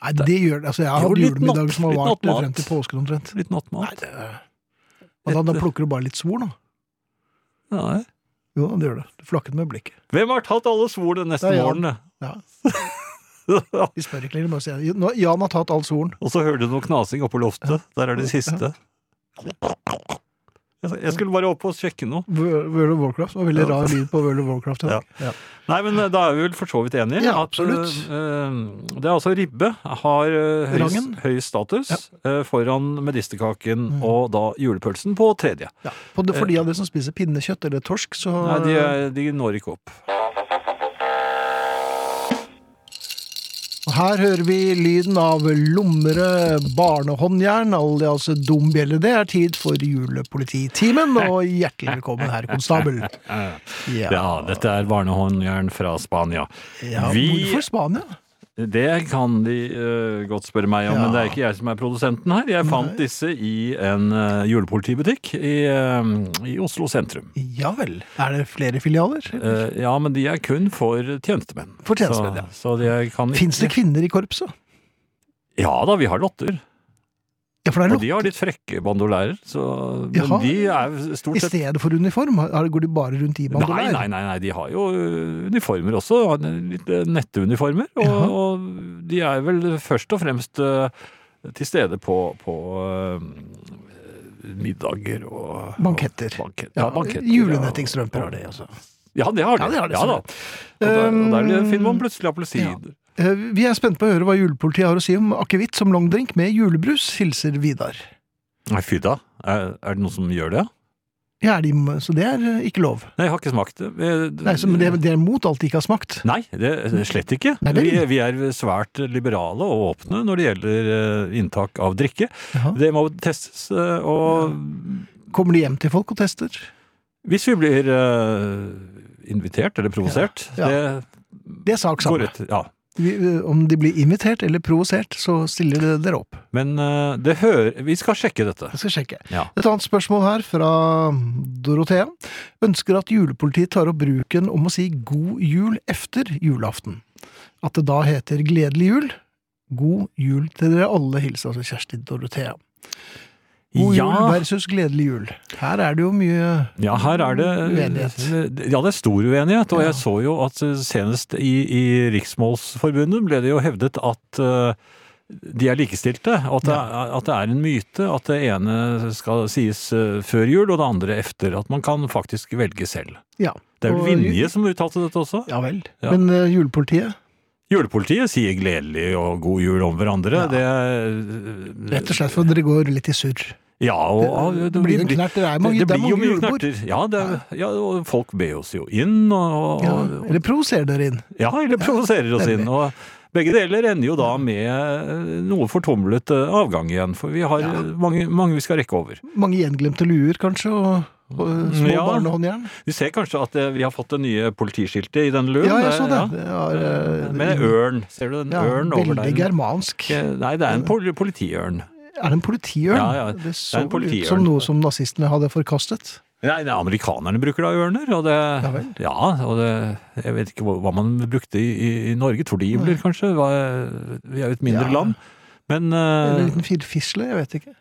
S4: Nei, det gjør det. Altså, jeg har
S3: Jo,
S4: hatt
S3: litt
S4: julemiddag
S3: natt-
S4: som har
S3: litt
S4: vart
S3: nattmat.
S4: frem til påsken omtrent.
S3: Litt nattmat.
S4: Men da, da plukker du bare litt svor, da.
S3: Nei.
S4: Jo, det gjør det. Det flakket med blikket.
S3: Hvem har tatt alle svorene neste
S4: Det er Jan.
S3: morgen?
S4: Ja,
S3: *laughs*
S4: *laughs*
S3: da?
S4: Vi spør ikke lenger, bare sier jeg, "Nå- Jan har tatt all svoren.
S3: Og så hører du noe knasing oppe på loftet. Der er det siste. Jeg jeg skulle bare opp og sjekke noe.
S4: Wo- World of Warcraft det var veldig
S3: Ja.
S4: rar lyd på World of Warcraft. i dag. Ja.
S3: Nei, men eh, da er vi vel for så vidt enige.
S4: Ja,
S3: at,
S4: absolutt.
S3: eh, eh, det er altså ribbe har eh, høy,
S4: Rangen. Mm.
S3: høy status eh, foran medisterkaken og da julepølsen på tredje.
S4: Ja. For, for de av dere som spiser pinnekjøtt eller torsk, så
S3: Nei, de, er- de når ikke opp.
S4: Og Her hører vi lyden av lomre barnehåndjern, alias dombjelle. Det er tid for julepolititimen, og hjertelig velkommen herr konstabel.
S3: *laughs* Ja, dette er barnehåndjern fra Spania.
S4: ja
S3: vi-
S4: Hvorfor Spania?
S3: Det kan de eh, godt spørre meg om,
S4: Ja.
S3: men det er ikke jeg som er produsenten her. Jeg fant disse i en eh, julepolitibutikk i, eh, i Oslo sentrum.
S4: Ja vel. Er det flere filialer?
S3: Eh, ja, men de er kun for tjenestemenn.
S4: For tjenestemenn, ja.
S3: Så, så de kan ikke
S4: Fins det kvinner i korpset?
S3: Ja da, vi har lotter.
S4: Ja, for det er
S3: Og
S4: lov.
S3: de har litt frekke bandolærer, så Men
S4: Jaha.
S3: de er
S4: I
S3: stort sett
S4: stedet for uniform, har- går de bare rundt
S3: Nei,
S4: i bandolær?
S3: nei, nei, nei, de har jo ø, uniformer også. og Litt ø, netteuniformer. Og,
S4: Jaha.
S3: og de er vel først og fremst ø, til stede på, på ø, middager og
S4: Banketter.
S3: og banket- ja, banketter.
S4: Julenettingstrømper
S3: ja.
S4: har de, altså.
S3: Ja, det har de.
S4: Ja, det Um,
S3: Ja,
S4: har de,
S3: da. Og der, og der finner man plutselig appelsiner.
S4: Eh, Vi er spent på å høre hva julepolitiet har å si om akevitt som langdrink med julebrus, hilser Vidar.
S3: Nei, fy da. Er, er det noen som gjør det?
S4: Ja, er de, så det er eh, ikke lov.
S3: Nei, jeg har ikke smakt det. Eh,
S4: Nei, så, men det, det er mot alt de ikke har smakt.
S3: Nei, det, det er slett ikke.
S4: Nei, vel.
S3: vi, vi er svært liberale og åpne når det gjelder eh, inntak av drikke.
S4: Jaha.
S3: Det må testes, eh, og
S4: Kommer de hjem til folk og tester?
S3: hvis vi blir eh, invitert eller provosert,
S4: Ja, Det er sak
S3: det går
S4: samme.
S3: ut. Ja.
S4: Vi, eh, om de blir invitert eller provosert, så stiller de- dere opp.
S3: Men eh, det hører Vi skal sjekke dette.
S4: Jeg skal sjekke.
S3: Ja.
S4: Et annet spørsmål her fra Dorothea. Ønsker at julepolitiet tar opp bruken om å si god jul efter julaften. At det da heter gledelig jul. God jul til dere alle, hilser altså Kjersti Dorothea. God jul
S3: Ja.
S4: versus gledelig jul. Her er det jo mye
S3: Ja, her er det
S4: Uenighet.
S3: Ja, det er stor uenighet. Og
S4: Ja.
S3: jeg så jo at eh, senest i, i Riksmålsforbundet ble det jo hevdet at eh, de er likestilte. og At det, er, at det er en myte at det ene skal sies eh, før jul, og det andre efter. At man kan faktisk velge selv.
S4: Ja,
S3: Det er vel
S4: Og-
S3: Vinje som uttalte dette også?
S4: ja vel.
S3: Ja.
S4: Men eh, julepolitiet,
S3: Julepolitiet sier gledelig og god jul om hverandre. Det
S4: rett og slett for dere går litt i surr.
S3: Ja, og
S4: Det, det blir jo en knert. Det er mange,
S3: det,
S4: det er
S3: blir jo
S4: mange
S3: mye
S4: julebord.
S3: knerter. Ja, det, er- ja, og folk ber oss jo inn, og,
S4: Ja,
S3: og,
S4: eller provoserer dere inn.
S3: Ja, eller provoserer oss
S4: nemlig.
S3: inn. Og begge deler ender jo da med eh, noe fortumlet eh, avgang igjen, for vi har eh, mange, mange vi skal rekke over.
S4: Mange gjenglemte luer, kanskje, og, og små
S3: Ja.
S4: barnehåndjern.
S3: Vi ser kanskje at eh, vi har fått det nye politiskiltet i den luen.
S4: Ja, jeg så det.
S3: ja.
S4: det er, eh,
S3: Med en ørn. Ser du den
S4: ja,
S3: ørn over
S4: veldig
S3: der?
S4: germansk.
S3: Eh, Nei, det er en pol- politiørn.
S4: Er det en politiørn?
S3: Ja, ja, det er
S4: Det
S3: en
S4: så vel ut
S3: politiørn.
S4: som noe som nazistene hadde forkastet.
S3: Nei, det er amerikanerne bruker da ørner, og det
S4: Ja vel.
S3: Ja, og det Jeg vet ikke hva hva man brukte i, i, i Norge. Tordibler, kanskje? Hva, vi er jo et mindre
S4: Ja.
S3: land. Men
S4: Eller en
S3: eh,
S4: liten firfisle, jeg vet ikke.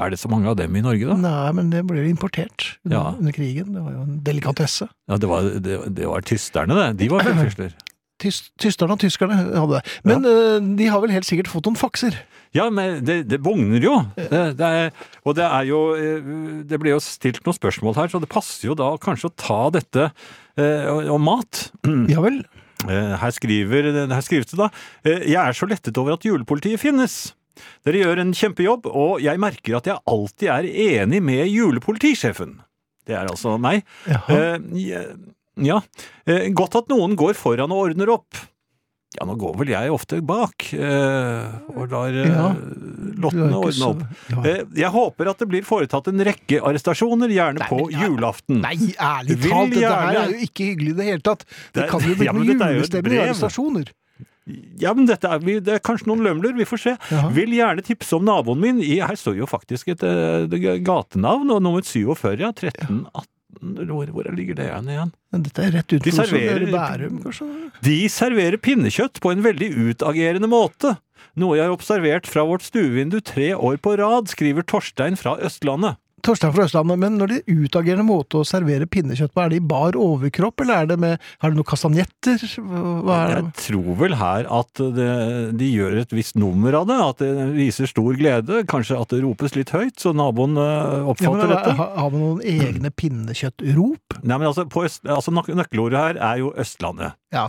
S3: er det så mange av dem i Norge, da?
S4: Nei, men det ble importert under,
S3: Ja.
S4: under krigen. Det var jo en delikatesse.
S3: Ja, det var, det, det var tysterne, det. De var firfisler.
S4: Tys Tysterne og tyskerne hadde det. Men eh, de har vel helt sikkert fått noen fakser.
S3: Ja, men det, det bugner jo. Det, det er, og det er jo eh, Det ble jo stilt noen spørsmål her, så det passer jo da kanskje å ta dette eh, om mat.
S4: Ja vel?
S3: Eh, Her, skriver, her skrives det da eh, Jeg er så lettet over at julepolitiet finnes. Dere gjør en kjempejobb, og jeg merker at jeg alltid er enig med julepolitisjefen. Det er altså meg.
S4: Jaha.
S3: Eh, je- ja. Eh, godt at noen går foran og ordner opp. Ja, nå går vel jeg ofte bak eh, og lar eh,
S4: Ja. Du har
S3: lottene
S4: ikke
S3: ordne
S4: så-
S3: opp.
S4: Ja.
S3: Eh, jeg håper at det blir foretatt en rekke arrestasjoner, gjerne på julaften.
S4: Nei, ærlig
S3: Vil
S4: talt, dette her
S3: gjerne-
S4: er jo ikke hyggelig i det hele tatt. Det
S3: Det er-
S4: kan jo bli
S3: *laughs* Ja, men
S4: noen
S3: dette er jo et
S4: julestemning i
S3: brev.
S4: arrestasjoner.
S3: Ja, men dette er, vi- det er kanskje noen lømler, vi får se.
S4: Jaha.
S3: Vil gjerne tipse om naboen min. I, her står jo faktisk et eh, gatenavn, og nummer 47, ja. 1318. Hvor, hvor ligger det igjen igjen?
S4: Men Dette er rett ut
S3: De
S4: på Oslo,
S3: serverer-
S4: eller Bærum, kanskje?
S3: De serverer pinnekjøtt på en veldig utagerende måte. Noe jeg har observert fra vårt stuevindu tre år på rad, skriver Torstein fra Østlandet.
S4: Torstein fra Østlandet, men når det er utagerende måte å servere pinnekjøtt på, er det i bar overkropp, eller er det med Har det noen kastanjetter? Hva er
S3: Jeg
S4: det?
S3: tror vel her at det, de gjør et visst nummer av det, at det viser stor glede, kanskje at det ropes litt høyt, så naboen eh,
S4: Ja, men,
S3: oppfatter dette.
S4: har, har man noen egne pinnekjøttrop?
S3: Nei, men altså, på øst, altså nøk- Nøkkelordet her er jo Østlandet.
S4: Ja.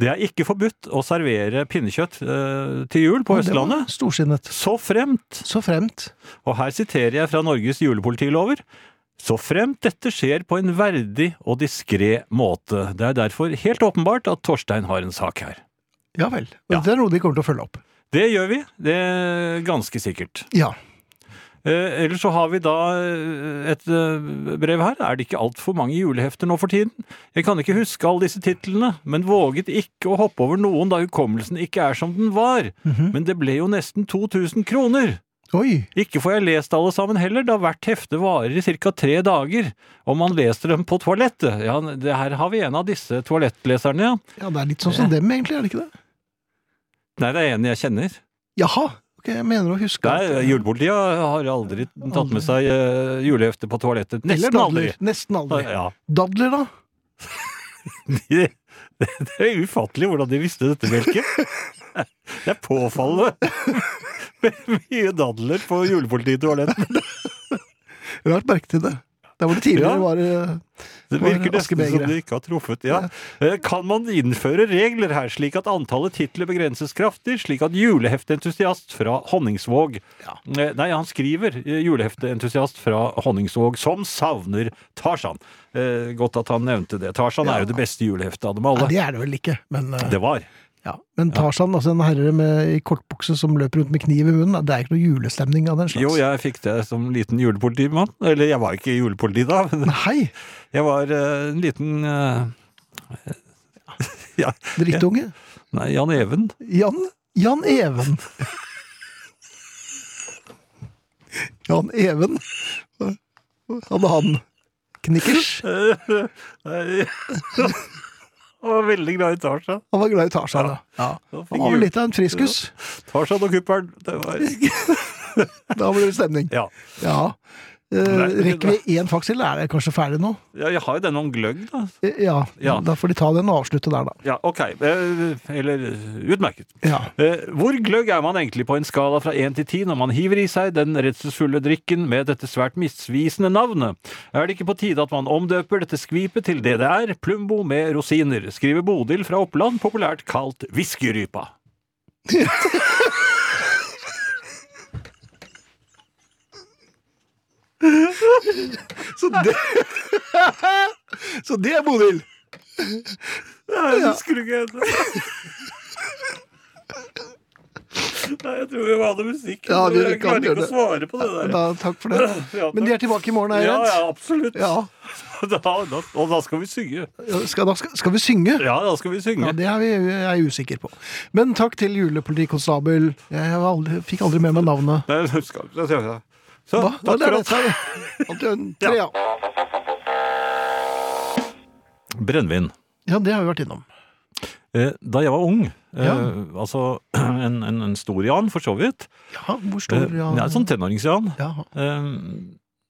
S3: Det er ikke forbudt å servere pinnekjøtt eh, til jul på
S4: Ja, det var
S3: Østlandet.
S4: Storsinnet.
S3: Så fremt,
S4: Så fremt.
S3: og her siterer jeg fra Norges julepolitilover, så fremt dette skjer på en verdig og diskré måte. Det er derfor helt åpenbart at Torstein har en sak her.
S4: Ja vel. Og
S3: Ja.
S4: Dette er noe de kommer til å følge opp.
S3: Det gjør vi, det er ganske sikkert.
S4: Ja.
S3: Eh, ellers så har vi da eh, et eh, brev her. Er det ikke altfor mange julehefter nå for tiden? Jeg kan ikke huske alle disse titlene, men våget ikke å hoppe over noen da hukommelsen ikke er som den var. Men det ble jo nesten 2000 kroner.
S4: Oi.
S3: Ikke får jeg lest alle sammen heller, da hvert hefte varer i ca. tre dager. Om man leser dem på toalettet. Ja, det her har vi en av disse toalettleserne, ja.
S4: Ja, det er litt sånn som dem, egentlig, er det ikke det?
S3: Nei, det er en jeg kjenner.
S4: Jaha. Ok, jeg mener å huske
S3: Nei,
S4: at-
S3: Julepolitiet har aldri tatt med seg eh, julehefte på toalettet.
S4: Eller
S3: Nesten aldri.
S4: dadler. Nesten aldri.
S3: Ja. *laughs*
S4: Dadler, da?
S3: Det, det, det er ufattelig hvordan de visste dette, *laughs* Bjelke. Det er påfallende. *laughs* Med mye dadler på julepolititoaletten.
S4: Rart merke til det. Der hvor det
S3: Ja.
S4: tidligere var eh,
S3: Det
S4: Var det
S3: virker nesten som
S4: askebegeret?
S3: de ikke har truffet. Ja. Eh, Kan man innføre regler her, slik at antallet titler begrenses kraftig, slik at juleheftentusiast fra Honningsvåg Eh, Nei, han skriver eh, juleheftentusiast fra Honningsvåg som savner Tarzan. Eh, Godt at han nevnte det. Tarzan er jo det beste juleheftet av dem
S4: Nei,
S3: alle.
S4: det er det vel ikke, men eh,
S3: Det var.
S4: ja. Men Tarzan, altså en herre med, i kortbukse som løper rundt med kniv i munnen, det er ikke noe julestemning av den slags.
S3: Jo, jeg fikk det som liten julepolitimann. Eller jeg var ikke julepoliti da, men
S4: Nei!
S3: jeg var eh, en liten eh, ja,
S4: Drittunge.
S3: Nei, Jan Even.
S4: Jan, Jan Even. Jan Even. Hadde han knikkers?
S3: *laughs* Han var veldig glad i Tarzan.
S4: Han var glad i Tarzan, ja.
S3: Han
S4: Han var
S3: fikk
S4: vel litt av en friskus.
S3: Tarzan og kuppelen. Det var
S4: Da blir det stemning.
S3: Ja.
S4: Ja. Eh, rekker vi én faks til? Er det kanskje ferdig nå?
S3: ja jeg har jo denne om gløgg, da.
S4: Eh, Ja.
S3: Ja.
S4: Da får de ta den og avslutte der, da.
S3: Ja, ok. Eh, Eller utmerket.
S4: Ja.
S3: Eh, Hvor gløgg er man egentlig på en skala fra 1 til 10 når man hiver i seg den redselsfulle drikken med dette svært misvisende navnet? Er det ikke på tide at man omdøper dette skvipet til det det er, Plumbo med rosiner, skriver Bodil fra Oppland, populært kalt Viskerypa.
S4: Så det Så det er Bodil!
S3: Jeg husker ikke Nei, jeg tror vi må ha noe musikk.
S4: Ja, vi Jeg kan klarer ikke gjøre å det.
S3: svare på det
S4: Da, takk for
S3: *clears throat*
S4: det. Men de er tilbake i morgen, er jeg redd?
S3: absolutt.
S4: Ja.
S3: *laughs* og da skal vi synge.
S4: Skal, da skal, skal vi synge?
S3: Ja, da skal vi synge.
S4: Ja, det er vi, jeg er usikker på. Men takk til julepolitikonstabel. Jeg har aldri, fikk aldri med meg navnet.
S3: Nei, jeg husker ikke. Jeg ser det. Så,
S4: Hva?
S3: takk for at
S4: dette her. Alt i orden. Tre, ja.
S3: Brennevin.
S4: ja, det har vi vært innom.
S3: Eh, Da jeg var ung, eh,
S4: Ja.
S3: altså *clears throat* en, en, en stor Jan for så vidt,
S4: Ja, hvor
S3: eh,
S4: stor ja.
S3: ja, sånn tenårings-Jan,
S4: ja.
S3: eh,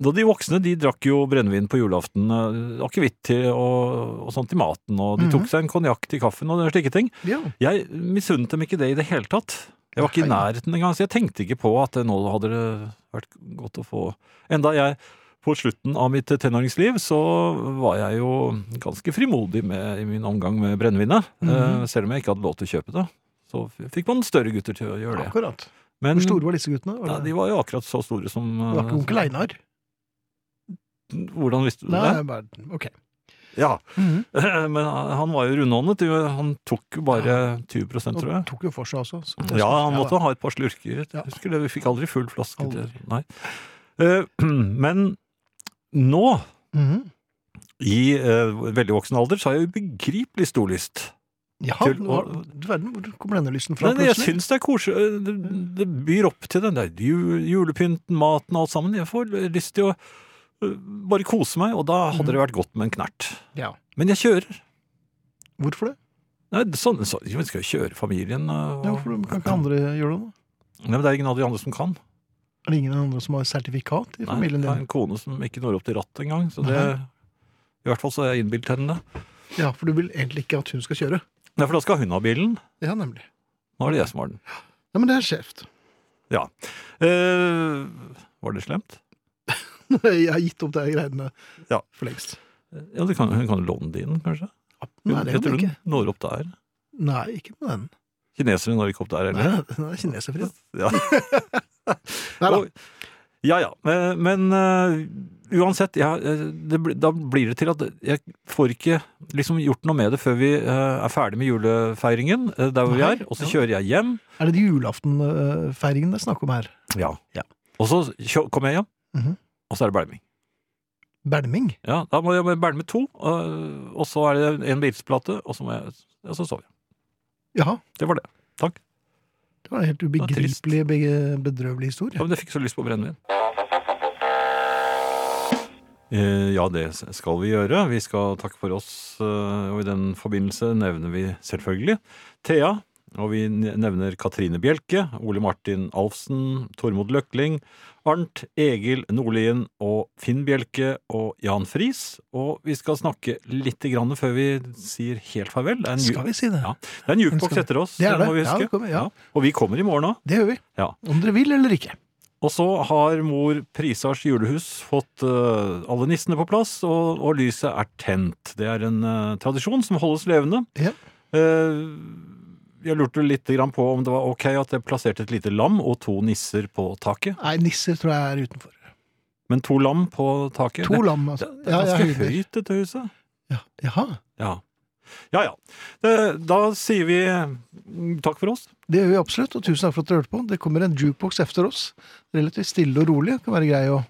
S3: da de voksne de drakk jo brennevin på julaften, eh, akevitt til, og, og sånt til maten, og de
S4: Mhm.
S3: tok seg en konjakk til kaffen og slike ting.
S4: ja.
S3: Jeg misunnet dem ikke det i det hele tatt. Jeg var ikke i
S4: Nei.
S3: nærheten engang, så jeg tenkte ikke på at eh, nå hadde det vært godt å få Enda jeg på slutten av mitt eh, tenåringsliv så var jeg jo ganske frimodig med, i min omgang med brennevinet.
S4: Mhm.
S3: eh, Selv om jeg ikke hadde lov til å kjøpe det. Så f- fikk man større gutter til å gjøre det.
S4: Akkurat.
S3: Men
S4: Hvor store var disse guttene? Var
S3: ja,
S4: det,
S3: de var jo akkurat så store som
S4: det var ikke
S3: eh,
S4: onkel Einar?
S3: Hvordan visste du
S4: Nei,
S3: det?
S4: bare, ok.
S3: Ja.
S4: Mhm.
S3: *laughs* Men han var jo rundhåndet. jo, Han tok jo bare 20
S4: Og
S3: tror jeg.
S4: tok jo for seg også. så-
S3: Ja, han måtte ha et par slurker.
S4: Ja.
S3: Jeg husker det, Vi fikk aldri full flaske. til-
S4: Aldri.
S3: Nei. Eh, *clears throat* Men nå,
S4: Mhm.
S3: i eh, veldig voksen alder, så har jeg ubegripelig stor lyst.
S4: Ja,
S3: Til-
S4: nå har- du verden, hvor kommer denne lysten fra
S3: Nei, nei, jeg
S4: plutselig?
S3: syns det er koselig. eh, Det, det byr opp til den der ju- julepynten, maten og alt sammen. Jeg får lyst til å eh, bare kose meg, og da hadde det vært godt med en knert.
S4: Mm. Ja.
S3: Men jeg kjører.
S4: Hvorfor det?
S3: Nei, sånn, så, jeg skal jo kjøre familien. eh,
S4: Ja,
S3: Og,
S4: hvorfor kan ikke andre gjøre det? da?
S3: Nei, men det er ingen av de andre som kan.
S4: Er det ingen andre som har sertifikat i
S3: Nei,
S4: familien
S3: jeg har
S4: din?
S3: en kone som ikke når opp til rattet engang, så det
S4: Nei.
S3: I hvert fall så har jeg innbilt henne det.
S4: Ja, for du vil egentlig ikke at hun skal kjøre.
S3: Nei, for da skal hun ha bilen.
S4: Ja, nemlig.
S3: Nå er det jeg som har den.
S4: Ja, men det er skjevt.
S3: Ja. Eh, var det slemt?
S4: *laughs* Jeg har gitt opp de greiene
S3: Ja.
S4: for lengst.
S3: Ja, du kan, Hun kan jo låne din, kanskje?
S4: Eh. Nei, det
S3: jeg tror
S4: kan du ikke.
S3: hun når opp der.
S4: Nei, ikke med den.
S3: Kinesere når ikke opp der
S4: Nei,
S3: heller.
S4: den er kineserfri. *laughs*
S3: Ja.
S4: Nei da.
S3: Og- ja ja. Men, men eh, uansett, ja, eh, det, blir- da blir det til at jeg får ikke liksom gjort noe med det før vi eh, er ferdig med julefeiringen eh, der hvor vi
S4: Nei,
S3: er. Og så
S4: ja.
S3: kjører jeg hjem.
S4: Er det de julaftenfeiringene det er snakk om her?
S3: Ja.
S4: Ja.
S3: Og så kjø- kommer jeg hjem,
S4: Mhm.
S3: og så er det belming.
S4: Belming?
S3: Ja, da må jeg belme to, øh, og så er det en bilsplate, og så må jeg ja, så sover jeg.
S4: Ja.
S3: Det var det. Takk.
S4: Det var en helt
S3: var trist.
S4: ubegripelig, be- bedrøvelig
S3: Ja,
S4: historie.
S3: men jeg fikk så lyst på brennevin. Eh, Ja, det skal vi gjøre. Vi skal takke for oss, eh, og i den forbindelse nevner vi selvfølgelig Thea. Og vi nevner Katrine Bjelke, Ole Martin Alfsen, Tormod Løkling, Arnt Egil Nordlien og Finn Bjelke og Jan Friis. Og vi skal snakke litt grann før vi sier helt farvel. Det er en, ju-
S4: Skal vi si det?
S3: Ja. det er en jukeboks
S4: Skal-
S3: etter oss,
S4: Det er det.
S3: må vi
S4: Ja,
S3: huske.
S4: det kommer, ja.
S3: Og vi kommer i morgen òg.
S4: Det gjør vi.
S3: Ja.
S4: Om dere vil eller ikke.
S3: Og så har mor Prisars julehus fått eh, alle nissene på plass, og, og lyset er tent. Det er en eh, tradisjon som holdes levende.
S4: Ja.
S3: Eh, jeg lurte litt grann på om det var ok at jeg plasserte et lite lam og to nisser på taket.
S4: Nei, nisser tror jeg er utenfor.
S3: Men to lam på taket
S4: To
S3: det,
S4: lam,
S3: det,
S4: altså.
S3: det er
S4: Ja,
S3: ganske
S4: jeg hører.
S3: høyt, dette huset.
S4: Ja. Jaha.
S3: Ja ja. ja. Det, da sier vi mm, takk for oss.
S4: Det gjør vi absolutt, og tusen takk for at dere hørte på. Det kommer en jukebox efter oss. Relativt stille og rolig. Det kan være grei å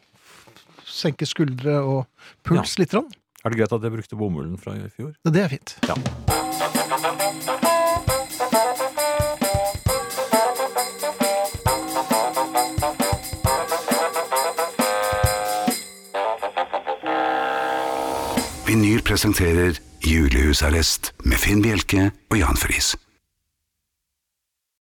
S4: senke skuldre og puls litt. Rann.
S3: Er det greit at jeg brukte bomullen fra i fjor?
S4: Det er fint.
S1: Vinyl presenterer Julehusarrest med Finn Bjelke og Jan Friis.